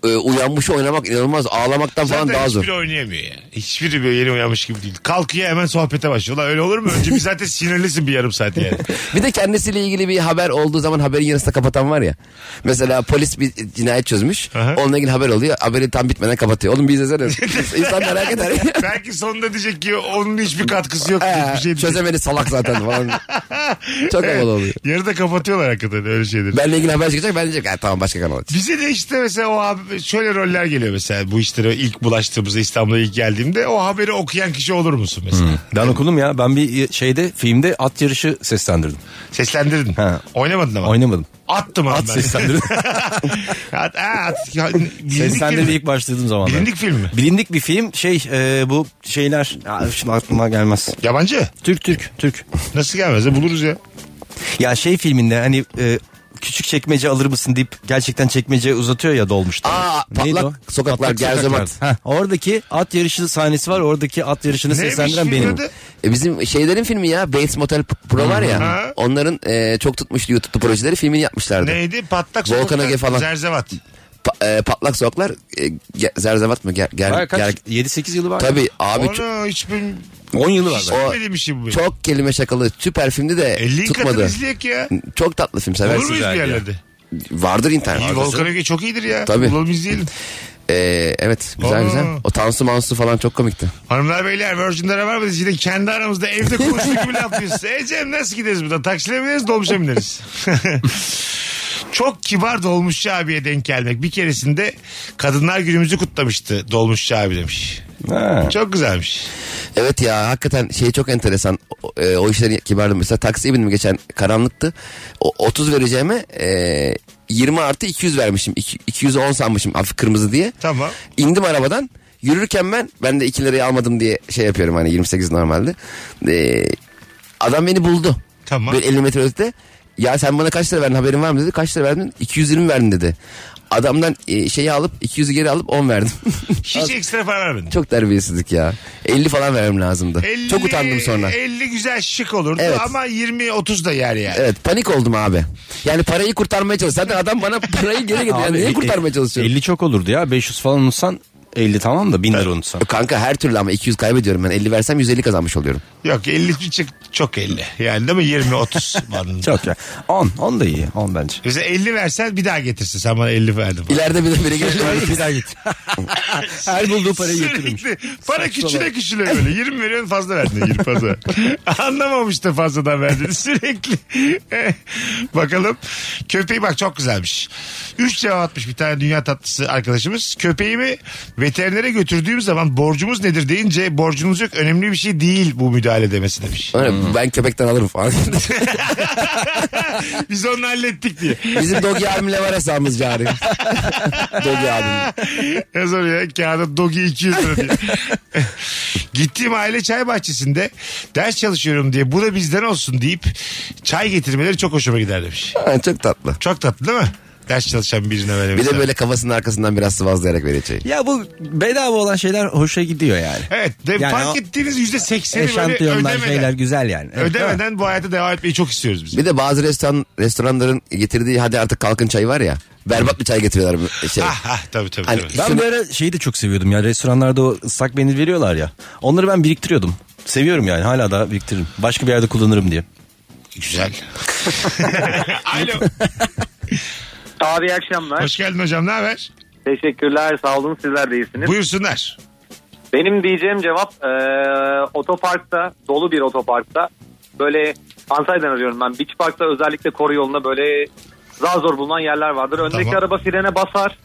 S4: e, uyanmış oynamak inanılmaz. Ağlamaktan falan
S3: Zaten
S4: daha zor.
S3: hiçbiri oynayamıyor ya. Hiçbiri böyle yeni uyanmış gibi değil. Kalkıyor hemen sohbete başlıyor. Lan öyle olur mu? Önce bir zaten sinirlisin bir yarım saat yani.
S4: Bir de kendisiyle ilgili bir haber olduğu zaman haberin yarısını kapatan var ya. Mesela polis bir cinayet çözmüş.
S3: Aha.
S4: Onunla ilgili haber oluyor. Haberi tam bitmeden kapatıyor. Oğlum bir izlesene. İnsan merak eder.
S3: Belki sonunda diyecek ki onun hiçbir katkısı yok.
S4: Ee,
S3: hiçbir şey diyecek.
S4: Çözemedi salak zaten falan. Çok
S3: Evet.
S4: havalı oluyor.
S3: Yarıda kapatıyorlar hakikaten öyle şeyleri.
S4: Benle ilgili haber çıkacak. Ben diyecek "Ha, tamam başka kanal aç.
S3: Bize de işte mesela o hab- şöyle roller geliyor mesela bu işlere ilk bulaştığımızda İstanbul'a ilk geldiğimde o haberi okuyan kişi olur musun mesela?
S5: Ben okulum ya. Ben bir şeyde filmde at yarışı seslendirdim.
S3: Seslendirdin.
S5: Ha.
S3: Oynamadın ama.
S5: Oynamadım.
S3: Attım abi
S5: At
S3: ben.
S5: seslendirdim.
S3: at, ha, at. Ya, bilindik, film.
S5: Seslendirdi ilk başladığım zaman.
S3: bilindik film mi?
S5: Bilindik bir film. Şey e, bu şeyler. Aa, şimdi aklıma gelmez.
S3: Yabancı.
S5: Türk Türk Türk.
S3: Nasıl gelmez de buluruz ya.
S5: Ya şey filminde hani e, küçük çekmece alır mısın deyip gerçekten çekmece uzatıyor ya dolmuşta.
S4: Aa, patlak sokaklar, gerzemat.
S5: oradaki at yarışı sahnesi var. Oradaki at yarışını
S3: Neymiş
S5: seslendiren
S3: filmin
S5: benim.
S3: adı?
S4: E bizim şeylerin filmi ya Bates Motel Pro var
S3: Ha.
S4: ya. Onların e, çok tutmuştu YouTube'lu projeleri filmini yapmışlardı.
S3: Neydi? Patlak
S4: Volkan
S3: sokaklar.
S4: Ege falan.
S3: Zerzevat.
S4: Pa- e, patlak sokaklar e, ge- zerzevat mı? Ger, ger,
S5: Bayağı
S4: ger-
S5: kaç? 7-8 yılı var.
S4: Tabii abi ço-
S3: Onu hiç bin...
S5: 10 yılı var.
S3: Hiç
S4: O-
S3: bilmediğim işi bu. Çok
S4: çok kelime şakalı süper filmdi de
S3: e, link atın
S4: tutmadı.
S3: izleyek ya.
S4: Çok tatlı film
S3: Olur
S4: seversin.
S3: muyuz bir
S5: ya.
S3: yerlerde?
S4: Vardır internet.
S3: İyi, Volkan Ege çok iyidir ya.
S4: Tabii.
S3: Bulalım izleyelim.
S4: E, evet güzel
S3: Aa.
S4: güzel. O Tansu Mansu falan çok komikti.
S3: Hanımlar beyler Virgin'de var mı? Yine kendi aramızda evde konuştuk bile yapıyoruz. Ecem E nasıl gideriz buradan? Taksiyle mi gideriz? Dolmuşa mı gideriz? Çok kibar dolmuşçu abiye denk gelmek. Bir keresinde kadınlar günümüzü kutlamıştı dolmuşçu abi demiş.
S5: Ha.
S3: Çok güzelmiş.
S4: Evet ya hakikaten şey çok enteresan. O, e, o işlerin kibarlığı. Mesela taksiye bindim geçen karanlıktı. O, 30 vereceğime e, 20 artı 200 vermişim. İki- 210 sanmışım hafif kırmızı diye.
S3: Tamam.
S4: İndim arabadan. Yürürken ben ben de 2 lirayı almadım diye şey yapıyorum hani 28 normalde. Ee, adam beni buldu.
S3: Tamam.
S4: Böyle 50 metre ötede. Ya sen bana kaç lira verdin haberin var mı dedi. Kaç lira verdin? 220 verdin dedi. Adamdan e, şeyi alıp 200'ü geri alıp 10 verdim.
S3: Hiç ekstra para vermedin.
S4: Çok terbiyesizlik ya. 50 falan vermem lazımdı.
S3: 50
S4: Çok utandım sonra.
S3: 50 güzel şık olurdu
S4: Evet.
S3: ama 20-30 da yer yani.
S4: Evet panik oldum abi. Yani parayı
S5: e,
S4: kurtarmaya çalıştım. Zaten adam bana parayı geri getirdi. Yani niye kurtarmaya çalışıyorum?
S5: 50 çok olurdu ya. 500 falan olsan 50 tamam da 1000 lira unutsam.
S4: Kanka her türlü ama 200 kaybediyorum ben. 50 versem 150 kazanmış oluyorum.
S3: Yok 50 çık çok 50. Yani değil mi 20 30 bandında.
S5: Çok ya. 10. 10 da iyi. 10 bence.
S3: Bize 50 versen bir daha getirsin. Sen bana 50 verdin. falan.
S4: İleride bir de biri gelir.
S5: Bir daha git. Her bulduğu parayı götürmüş.
S3: Sürekli para küçüle küçüle böyle. 20 veriyorsun fazla verdin 20 fazla. Anlamamış da fazladan verdin sürekli. Bakalım. Köpeği bak çok güzelmiş. 3 cevap atmış bir tane dünya tatlısı arkadaşımız. Köpeğimi veterinere götürdüğüm zaman borcumuz nedir deyince borcunuz yok önemli bir şey değil bu müdahale demesi demiş.
S4: ben köpekten alırım falan.
S3: Biz onu hallettik diye.
S4: Bizim Dogi abimle var hesabımız cari. Dogi abim.
S3: Yazar ya kağıda dogi 200 lira diye. Gittiğim aile çay bahçesinde ders çalışıyorum diye bu da bizden olsun deyip çay getirmeleri çok hoşuma gider demiş.
S4: Ha, Çok tatlı.
S3: Çok tatlı değil mi? Ders çalışan birine böyle
S4: Bir
S3: mesela.
S4: de böyle kafasının arkasından biraz sıvazlayarak vereceği.
S5: Ya bu bedava olan şeyler hoşa gidiyor yani.
S3: Evet de
S5: Yani
S3: fark
S5: o
S3: ettiğiniz yüzde sekseni böyle
S5: Eşantiyonlar
S3: ödemeden.
S5: şeyler güzel yani. Evet, değil mi?
S3: ödemeden bu hayata devam etmeyi çok istiyoruz biz.
S4: Bir de bazı restoran restoranların getirdiği hadi artık kalkın çayı var ya. Berbat bir çay getiriyorlar. bu Şey.
S3: Ah ah tabii tabii.
S4: Hani-
S3: tabii.
S5: Ben bu ara şeyi de çok seviyordum ya. Restoranlarda o ıslak mendil veriyorlar ya. Onları ben biriktiriyordum. Seviyorum yani hala daha biriktiririm. Başka bir yerde kullanırım diye.
S3: Güzel. Alo.
S9: Abi iyi akşamlar.
S3: Hoş geldin hocam ne haber?
S9: Teşekkürler sağ olun sizler de iyisiniz.
S3: Buyursunlar.
S9: Benim diyeceğim cevap e, otoparkta dolu bir otoparkta böyle Antalya'dan arıyorum ben. Beach Park'ta özellikle koru yoluna böyle daha zor bulunan yerler vardır. Öndeki
S3: Tamam.
S9: araba frene basar.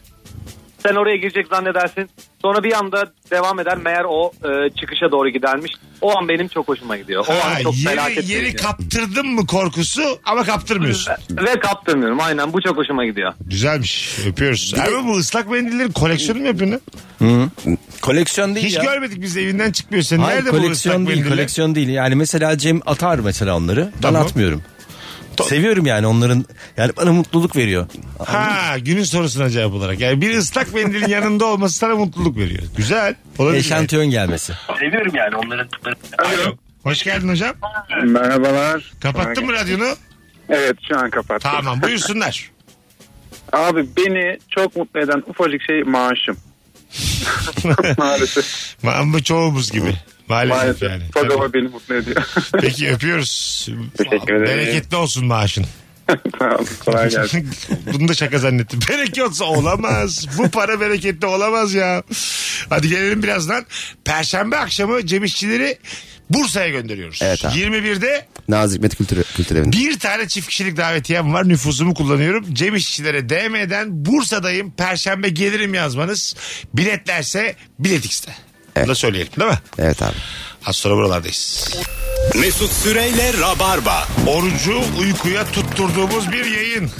S9: Sen oraya girecek zannedersin. Sonra bir anda devam eder. Meğer o e, çıkışa doğru gidermiş. O an benim çok hoşuma gidiyor. O
S3: Ha,
S9: an çok felaket
S3: yeri yeri
S9: verici.
S3: kaptırdın mı korkusu ama kaptırmıyorsun.
S9: Ve kaptırmıyorum. Aynen bu çok hoşuma gidiyor.
S3: Güzelmiş. Öpüyoruz. Abi bu ıslak mendillerin koleksiyonu mu yapıyorsun? lan?
S5: Koleksiyon değil
S3: Hiç
S5: ya.
S3: görmedik biz evinden çıkmıyor. Sen
S5: Hayır,
S3: nerede bu ıslak
S5: koleksiyon değil,
S3: mendiller?
S5: koleksiyon değil. Yani mesela Cem atar mesela onları.
S3: Tamam.
S5: Ben atmıyorum.
S3: Tamam.
S5: Seviyorum yani onların. Yani bana mutluluk veriyor.
S3: Ha günün sorusuna cevap olarak. Yani bir ıslak mendilin yanında olması sana mutluluk veriyor. Güzel. Olabilir.
S5: Eşantiyon gelmesi.
S8: Seviyorum yani onların.
S3: Alo. Hoş geldin hocam.
S9: Merhabalar.
S3: Kapattın mı radyonu?
S9: Evet şu an kapattım.
S3: Tamam buyursunlar.
S9: Abi beni çok mutlu eden ufacık şey maaşım. Maalesef.
S3: Ama bu çoğumuz gibi. Maalesef, yani.
S9: Maalesef. Çok
S3: Tabii.
S9: ama beni mutlu ediyor.
S3: Peki öpüyoruz.
S9: Teşekkür ederim.
S3: Bereketli olsun maaşın.
S9: Sağ olun. Kolay gelsin.
S3: Bunu da şaka zannettim. Bereketli olsa olamaz. Bu para bereketli olamaz ya. Hadi gelelim birazdan. Perşembe akşamı Cem İşçileri Bursa'ya gönderiyoruz.
S4: Evet abi.
S3: 21'de
S4: Nazik Hikmet Kültür, Kültür Evi'nde.
S3: Bir tane çift kişilik davetiyem var. Nüfusumu kullanıyorum. Cem İşçilere DM'den Bursa'dayım. Perşembe gelirim yazmanız. Biletlerse biletikste. Bunu da söyleyelim değil mi?
S4: Evet abi.
S3: Az sonra buralardayız.
S2: Mesut Süreyle Rabarba.
S3: Orucu uykuya tutturduğumuz bir yayın.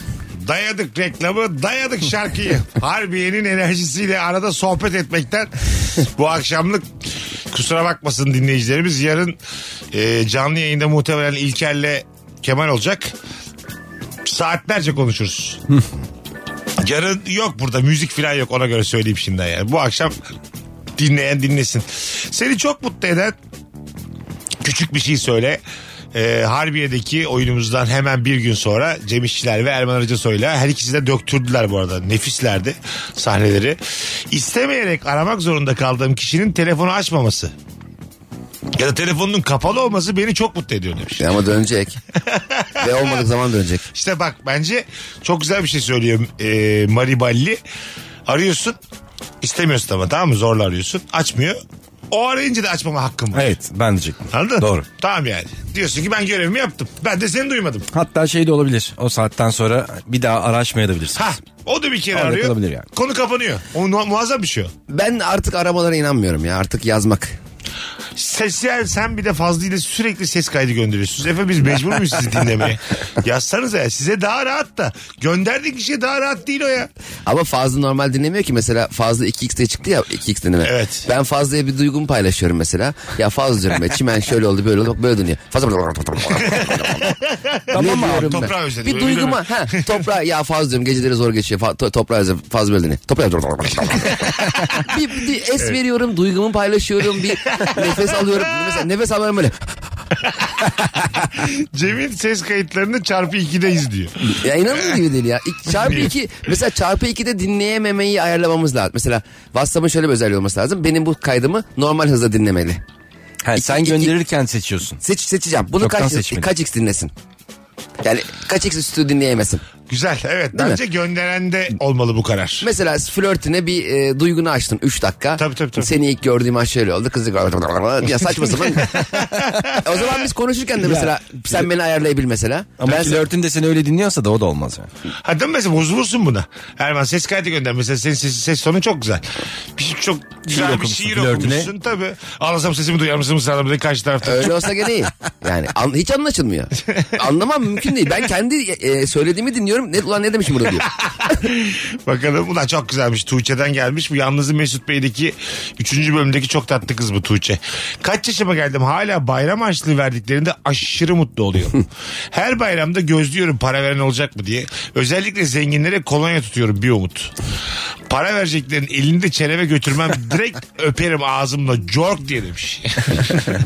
S3: Dayadık reklamı, dayadık şarkıyı. Harbiye'nin enerjisiyle arada sohbet etmekten bu akşamlık kusura bakmasın dinleyicilerimiz. Yarın e, canlı yayında muhtemelen İlker'le Kemal olacak. Saatlerce konuşuruz. Yarın yok burada müzik falan yok ona göre söyleyeyim şimdiden yani. Bu akşam dinleyen dinlesin. Seni çok mutlu eden küçük bir şey söyle. Ee, Harbiye'deki oyunumuzdan hemen bir gün sonra Cem İşçiler ve Erman Arıca Soy'la her ikisi de döktürdüler bu arada. Nefislerdi sahneleri. İstemeyerek aramak zorunda kaldığım kişinin telefonu açmaması. Ya da telefonunun kapalı olması beni çok mutlu ediyor demiş.
S4: E Ama dönecek. Ve olmadık zaman dönecek.
S3: İşte bak bence çok güzel bir şey söylüyor e, Mariballi. Arıyorsun istemiyorsun ama tamam mı zorla arıyorsun açmıyor. O arayınca da açmama hakkım var.
S5: Evet ben diyecektim.
S3: Anladın?
S5: Doğru.
S3: Tamam yani. Diyorsun ki ben görevimi yaptım. Ben de seni duymadım.
S5: Hatta şey de olabilir. O saatten sonra bir daha araşmayabilirsiniz.
S3: Ha o da bir kere
S5: Orada
S3: arıyor.
S5: kalabilir yani.
S3: Konu kapanıyor. O mu- muazzam bir şey o.
S4: Ben artık aramalara inanmıyorum ya. Artık yazmak.
S3: Ses yani sen bir de Fazlı ile sürekli ses kaydı gönderiyorsunuz. Efe biz mecbur muyuz sizi dinlemeye? Yazsanız ya size daha rahat da. Gönderdiğin kişiye daha rahat değil o ya.
S4: Ama fazla normal dinlemiyor ki mesela fazla 2x'de çıktı ya 2x deneme.
S3: Evet.
S4: Ben fazlaya bir duygumu paylaşıyorum mesela. Ya fazla diyorum ya çimen şöyle oldu böyle oldu bak böyle dönüyor. Fazla tamam
S3: abi, toprağı özledi,
S4: Bir
S3: öyle
S4: duyguma ha toprağı ya fazla diyorum geceleri zor geçiyor. Fa, to, toprağı özledim fazla böyle dönüyor. Toprağı bir, bir es veriyorum duygumu paylaşıyorum bir nefes alıyorum. Mesela nefes alıyorum böyle.
S3: Cem'in ses kayıtlarını çarpı 2'de izliyor.
S4: Ya inanılır gibi değil ya. İk- Çarpı iki mesela çarpı 2'de dinleyememeyi ayarlamamız lazım. Mesela WhatsApp'ın şöyle bir özelliği olması lazım. Benim bu kaydımı normal hızda dinlemeli.
S5: Ha, sen
S4: İki- iki-
S5: gönderirken seçiyorsun.
S4: Seç, seçeceğim. Bunu
S5: Çoktan
S4: kaç,
S5: seçmeli.
S4: kaç x dinlesin? Yani kaç x üstü dinleyemesin?
S3: Güzel evet
S4: Değil mi?
S3: bence gönderende olmalı bu karar.
S4: Mesela flörtüne bir e, duygunu açtın 3 dakika.
S3: Tabii, tabii, tabii.
S4: Seni ilk gördüğüm an şöyle oldu. Kızı ya saçma sapan. o zaman biz konuşurken de mesela sen beni ayarlayabil mesela.
S5: Ama
S4: ben
S5: flörtün de seni öyle dinliyorsa da o da olmaz yani.
S3: Ha değil mi mesela bozulursun buna. Erman ses kaydı gönder. Mesela senin ses, ses sonun çok güzel. Bir, şey- çok güzel bir
S5: okumuşsun,
S3: şiir
S5: flörtüne.
S3: okumuşsun tabii. Ağlasam sesimi duyar mısın mısın diye karşı tarafta.
S4: Öyle olsa gene iyi. Yani an- hiç anlaşılmıyor. Anlamam mümkün değil. Ben kendi e, söylediğimi dinliyorum. Ne, ulan ne demişim burada diyor.
S3: Bakalım ulan çok güzelmiş. Tuğçe'den gelmiş. Bu Yalnız'ın Mesut Bey'deki 3. bölümdeki çok tatlı kız bu Tuğçe. Kaç yaşıma geldim hala bayram harçlığı verdiklerinde aşırı mutlu oluyorum. Her bayramda gözlüyorum para veren olacak mı diye. Özellikle zenginlere kolonya tutuyorum bir umut. Para vereceklerin elinde çeleve götürmem direkt öperim ağzımla cork diye demiş.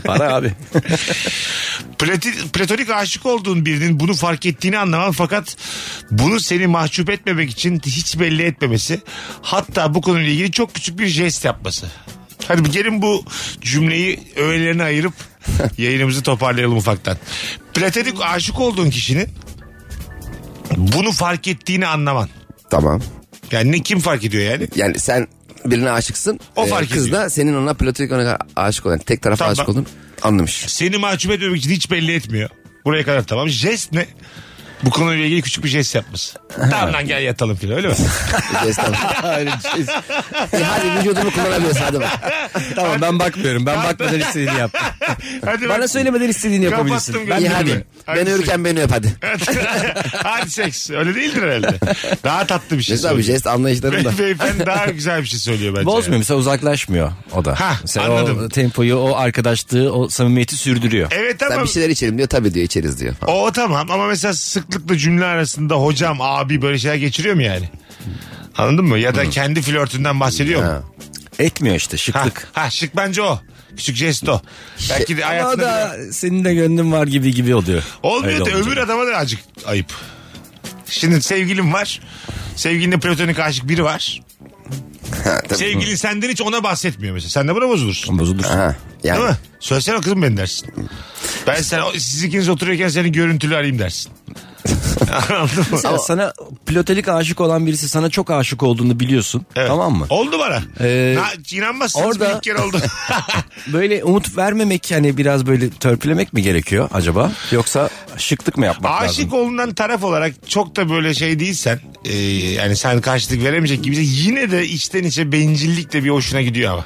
S5: Para abi.
S3: Plati- platonik aşık olduğun birinin bunu fark ettiğini anlamam fakat bunu seni mahcup etmemek için hiç belli etmemesi hatta bu konuyla ilgili çok küçük bir jest yapması. Hadi bir gelin bu cümleyi öğelerine ayırıp yayınımızı toparlayalım ufaktan. Platonik aşık olduğun kişinin bunu fark ettiğini anlaman.
S4: tamam.
S3: Yani ne kim fark ediyor yani?
S4: Yani sen birine aşıksın. E,
S3: O fark
S4: Kız
S3: ediyor.
S4: da senin ona platonik ona aşık olan. Tek tarafa
S3: Tamam,
S4: aşık
S3: ben-
S4: oldun. Anlamış.
S3: Seni mahcup etmemek için hiç belli etmiyor. Buraya kadar tamam. Jest ne? Bu konuyla ilgili küçük bir jest yapması. tamam lan gel yatalım filan öyle mi?
S4: Estağfurullah.
S5: şey-
S4: E, hadi vücudumu kullanabiliyorsun hadi bak.
S5: tamam ben bakmıyorum. Ben bakmadan istediğini yap.
S3: Hadi
S5: Bana
S3: ben-
S5: söylemeden istediğini
S3: Kapattım
S5: yapabilirsin. Ben
S3: gözümü.
S4: İyi
S5: de
S4: hadi.
S5: bilmiyorum.
S4: Ben
S3: Hadi
S4: ölürken beni öp hadi.
S3: Hadi seks. Öyle değildir herhalde. Daha tatlı bir şey.
S4: Mesut abi
S3: söylüyor.
S4: jest anlayışlarında.
S3: Be- Beyefendi daha güzel bir şey söylüyor bence.
S5: Bozmuyor mesela uzaklaşmıyor o da.
S3: Ha,
S5: mesela
S3: anladım.
S5: O tempoyu, o arkadaşlığı, o samimiyeti sürdürüyor.
S3: Yani. Evet
S4: Sen
S3: ama
S4: bir şey- şeyler içelim diyor tabii diyor içeriz diyor.
S3: o tamam ama mesela sıklıkla cümle arasında hocam abi böyle şeyler geçiriyor mu yani? Anladın mı? Ya da kendi flörtünden bahsediyor mu?
S5: Etmiyor işte
S3: E- Ha,
S5: şıklık.
S3: ha, şık bence o. Küçük jest o. Belki de
S5: Ama o
S3: hayatında
S5: da senin de gönlün var gibi gibi oluyor. Öyle
S3: Olmuyor da
S5: olunca.
S3: öbür adama da acık ayıp. Şimdi sevgilim var. Sevgilinle platonik aşık biri var. Sevgilin senden hiç ona bahsetmiyor mesela. Sen de buna bozulursun.
S5: Bozulursun.
S4: Ha, yani.
S3: Değil mi? Söylesene kızım beni dersin. Ben sen, o- siz ikiniz oturuyorken senin görüntülü arayayım dersin. Anladın mı?
S5: Mesela sana platonik aşık olan birisi sana çok aşık olduğunu biliyorsun.
S3: Evet.
S5: Tamam mı?
S3: Oldu bana.
S5: Ee,
S3: Na, inanmazsınız
S5: orada-
S3: bir ilk kere oldu.
S5: Böyle umut vermemek yani biraz böyle törpülemek mi gerekiyor acaba? Yoksa şıklık mı yapmak lazım?
S3: Aşık olunan taraf olarak çok da böyle şey değilsen e, yani sen karşılık veremeyecek gibi yine de içten içe bencillik de bir hoşuna gidiyor ama.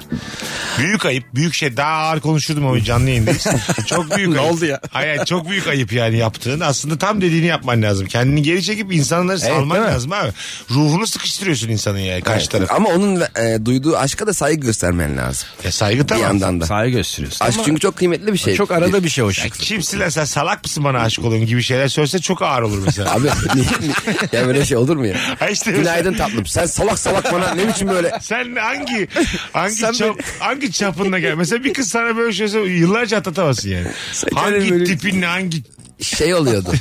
S3: Büyük ayıp. Büyük şey. Daha ağır konuşurdum ama canlı yayındayız. çok büyük
S5: Ne
S3: ayıp.
S5: oldu ya?
S3: Hayır hayır, çok büyük ayıp yani yaptığın. Aslında tam dediğini yapman lazım. Kendini geri çekip insanları salman
S5: değil mi?
S3: lazım abi. Ruhunu sıkıştırıyorsun insanın yani karşı
S4: Evet.
S3: taraf.
S4: Ama onun e, duyduğu aşka da saygı göstermen lazım.
S3: E, saygı
S4: Bir
S3: tamam.
S4: yandan da.
S5: Saygı gösteriyorsun.
S4: Aşk
S5: Ama
S4: çünkü çok kıymetli bir şey.
S5: çok arada bir şey o şıklık.
S3: Kimsin lan sen salak mısın bana aşık olun gibi şeyler söylese çok ağır olur mesela.
S4: Abi niye, niye- ya böyle şey olur mu ya?
S3: Ha işte mesela-
S4: Günaydın tatlım. Sen salak salak bana ne biçim böyle?
S3: Sen hangi hangi
S4: Sen
S3: çap, hangi çapınla gel? Mesela bir kız sana böyle şey söylese yıllarca atlatamazsın yani. hangi
S5: böyle-
S3: tipinle hangi
S4: Şey oluyordu.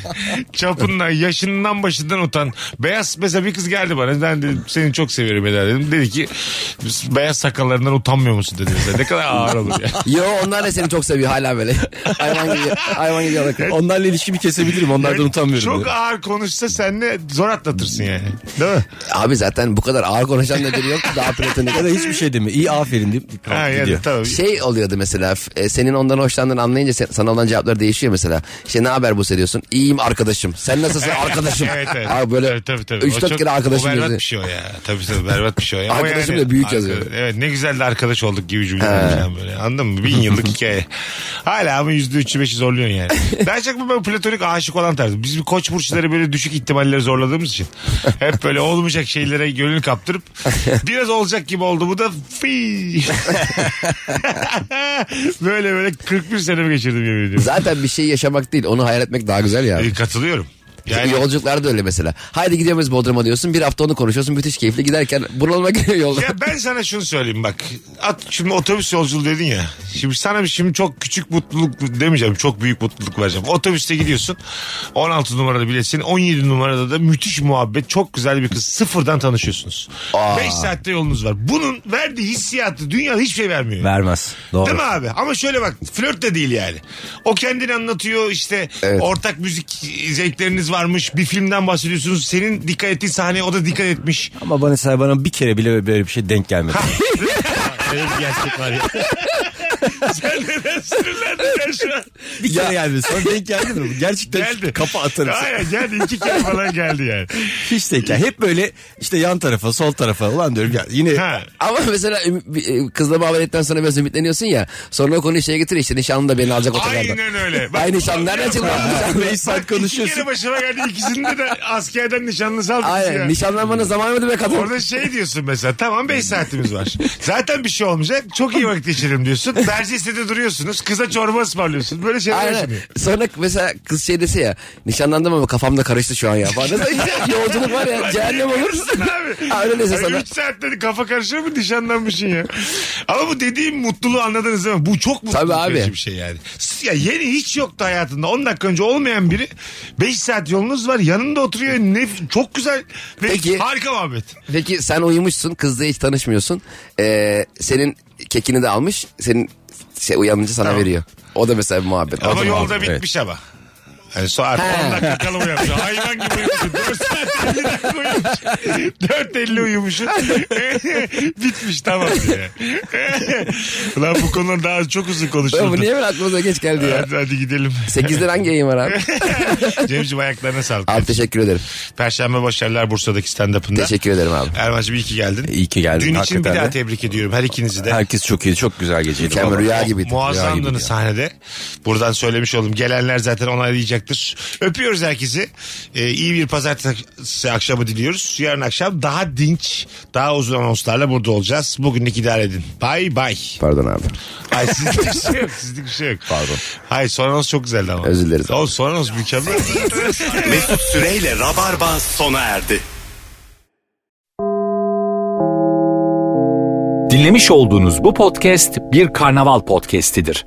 S3: çapınla yaşından başından utan. Beyaz mesela bir kız geldi bana ben dedim seni çok seviyorum Eda dedim. Dedi ki beyaz sakallarından utanmıyor musun dedi mesela. Ne kadar ağır olur ya.
S4: Yo onlar da seni çok seviyor hala böyle. Hayvan gibi. Hayvan gibi alakalı.
S5: Onlarla ilişkimi kesebilirim. Onlardan utanmıyorum.
S3: Çok
S5: diyor.
S3: ağır konuşsa senle zor atlatırsın yani. Değil mi?
S4: Abi zaten bu kadar ağır konuşan da biri yok ki daha platonik.
S5: Ya da hiçbir şey demiyor. İyi aferin deyip
S3: Ha,
S5: kalkıp
S3: yani,
S5: gidiyor.
S3: tabii.
S4: Şey oluyordu mesela f- e, senin ondan hoşlandığını anlayınca sen- sana olan cevaplar değişiyor mesela. İşte ne haber bu diyorsun. İyiyim arkadaşım. Sen nasılsın arkadaşım.
S3: evet, evet.
S4: Abi böyle
S3: Tabii, tabii, tabii. O
S4: 3-4
S3: çok-
S4: kere
S3: o
S4: arkadaşım
S3: berbat
S4: yazıyor.
S3: bir şey o ya. Tabii tabii berbat bir şey o ya. Ama
S4: Arkadaşım da büyük yazıyor.
S3: arkadaş- Evet ne güzel de arkadaş olduk gibi cümleler falan böyle. Anladın mı? Bin yıllık hikaye. Hala ama yüzde üçü beşi zorluyorsun yani. ben çok böyle platonik aşık olan tarzım. Biz bir koç burçları böyle düşük ihtimalleri zorladığımız için. Hep böyle olmayacak şeylere gönül kaptırıp biraz olacak gibi oldu. Bu da fi. böyle böyle 41 senemi geçirdim yemin ediyorum.
S4: Zaten bir şey yaşamak değil onu hayal etmek daha güzel ya.
S3: Ee, Katılıyorum.
S4: Yani... Yolculuklar da öyle mesela. Haydi gidiyoruz Bodrum'a diyorsun. Bir hafta onu konuşuyorsun. Müthiş keyifli giderken bunalıma giriyor yolda.
S3: Ya ben sana şunu söyleyeyim bak. At, şimdi otobüs yolculuğu dedin ya. Şimdi sana bir şimdi çok küçük mutluluk demeyeceğim. Çok büyük mutluluk vereceğim. Otobüste gidiyorsun. 16 numarada biletsin. 17 numarada da müthiş muhabbet. Çok güzel bir kız. Sıfırdan tanışıyorsunuz. 5 saatte yolunuz var. Bunun verdiği hissiyatı dünyada hiçbir şey vermiyor.
S5: Vermez. Doğru.
S3: Değil mi abi? Ama şöyle bak flört de değil yani. O kendini anlatıyor işte ortak müzik zevkleriniz varmış. Bir filmden bahsediyorsunuz. Senin dikkat ettiğin sahneye o da dikkat etmiş.
S5: Ama bana mesela bana bir kere bile böyle bir şey denk gelmedi.
S3: Öyle bir gerçek var ya. Sen neden sinirlendin ya şu an?
S5: bir kere gelmedi. Sonra denk geldi mi? Gerçekten
S3: Geldi.
S5: kafa atarım.
S3: Aynen geldi iki kere falan geldi yani.
S5: Hiç denk gelmedi. Hep böyle işte yan tarafa sol tarafa. Ulan diyorum ya yine
S3: Ha.
S4: Ama mesela üm- bir- e, kızla muhabbet ettikten sonra biraz ümitleniyorsun ya. Sonra o konuyu şeye getir işte nişanlı da beni alacak otogarda.
S3: Aynen öyle. Bak,
S4: Ay nişanlı nereden çıktı?
S5: beş saat
S3: İki kere
S5: konuşuyorsun.
S3: başıma geldi ikisinde de askerden nişanlı saldık ya.
S4: Aynen nişanlanmana zaman mıydı be kadın?
S3: Orada şey diyorsun mesela tamam 5 saatimiz var. Zaten bir şey olmayacak. Çok iyi vakit geçirelim diyorsun. Tercih istedi duruyorsunuz. Kıza çorba ısmarlıyorsun. Böyle şeyler
S4: Aynen.
S3: yaşanıyor.
S4: Sonra mesela kız şey dese ya nişanlandım ama kafamda karıştı şu an ya. Falan. Yolculuk var ya cehennem olur.
S3: Abi.
S4: Ha, öyle dese
S3: Hani
S4: sana.
S3: üç saatte kafa karışıyor mu nişanlanmışsın ya. Ama bu dediğim mutluluğu anladınız değil mi? Bu çok mutluluk
S4: Tabii abi.
S3: verici bir şey yani. S- Ya yeni hiç yoktu hayatında. 10 dakika önce olmayan biri 5 saat yolunuz var. Yanında oturuyor. Ne, çok güzel ve
S4: Peki.
S3: harika muhabbet.
S4: Peki sen uyumuşsun kızla hiç tanışmıyorsun. Ee, senin kekini de almış. Senin şey uyanınca sana veriyor. O da mesela bir muhabbet. O
S3: Ama
S4: da
S3: yolda
S4: muhabbet.
S3: bitmiş ama. Hani Yani saat 10 dakika kala uyanmış. Hayvan gibi uyumuşum. 4 saat 50 dakika uyumuşum. 4.50 uyumuşum. Bitmiş tamam diye. Ulan bu konuda daha çok uzun
S4: Oğlum bu
S3: konuşuldu.
S4: niye böyle aklımıza geç geldi ya?
S3: Hadi, hadi gidelim.
S4: 8'den hangi yayın var abi?
S3: Cemciğim ayaklarına sağlık.
S4: abi teşekkür ederim.
S3: Perşembe başarılar Bursa'daki stand-up'ında.
S4: Teşekkür ederim abi.
S3: Erman'cığım iyi ki geldin.
S5: İyi ki geldin.
S3: Dün için bir
S5: hakikaten
S3: daha
S5: de.
S3: tebrik ediyorum her ikinizi de.
S5: Herkes çok iyi. Çok güzel geceydi.
S4: Mükemmel
S5: Vallahi.
S4: rüya gibiydi. Rüya gibiydi.
S3: Muazzamdınız sahnede. Buradan söylemiş oldum. Gelenler zaten onaylayacaktır. Öpüyoruz herkesi. Ee, iyi bir pazartesi akşamı diliyoruz. Yarın akşam daha dinç, daha uzun anonslarla burada olacağız. Bugünlük idare edin. Bay bay.
S4: Pardon abi.
S3: Ay sizlik bir şey yok. Sizlik bir şey yok. Pardon. Hayır son anons çok güzeldi ama.
S4: Özür dileriz.
S3: Oğlum son anons mükemmel.
S2: Mesut Süreyle Rabarba sona erdi.
S1: Dinlemiş olduğunuz bu podcast bir karnaval podcastidir.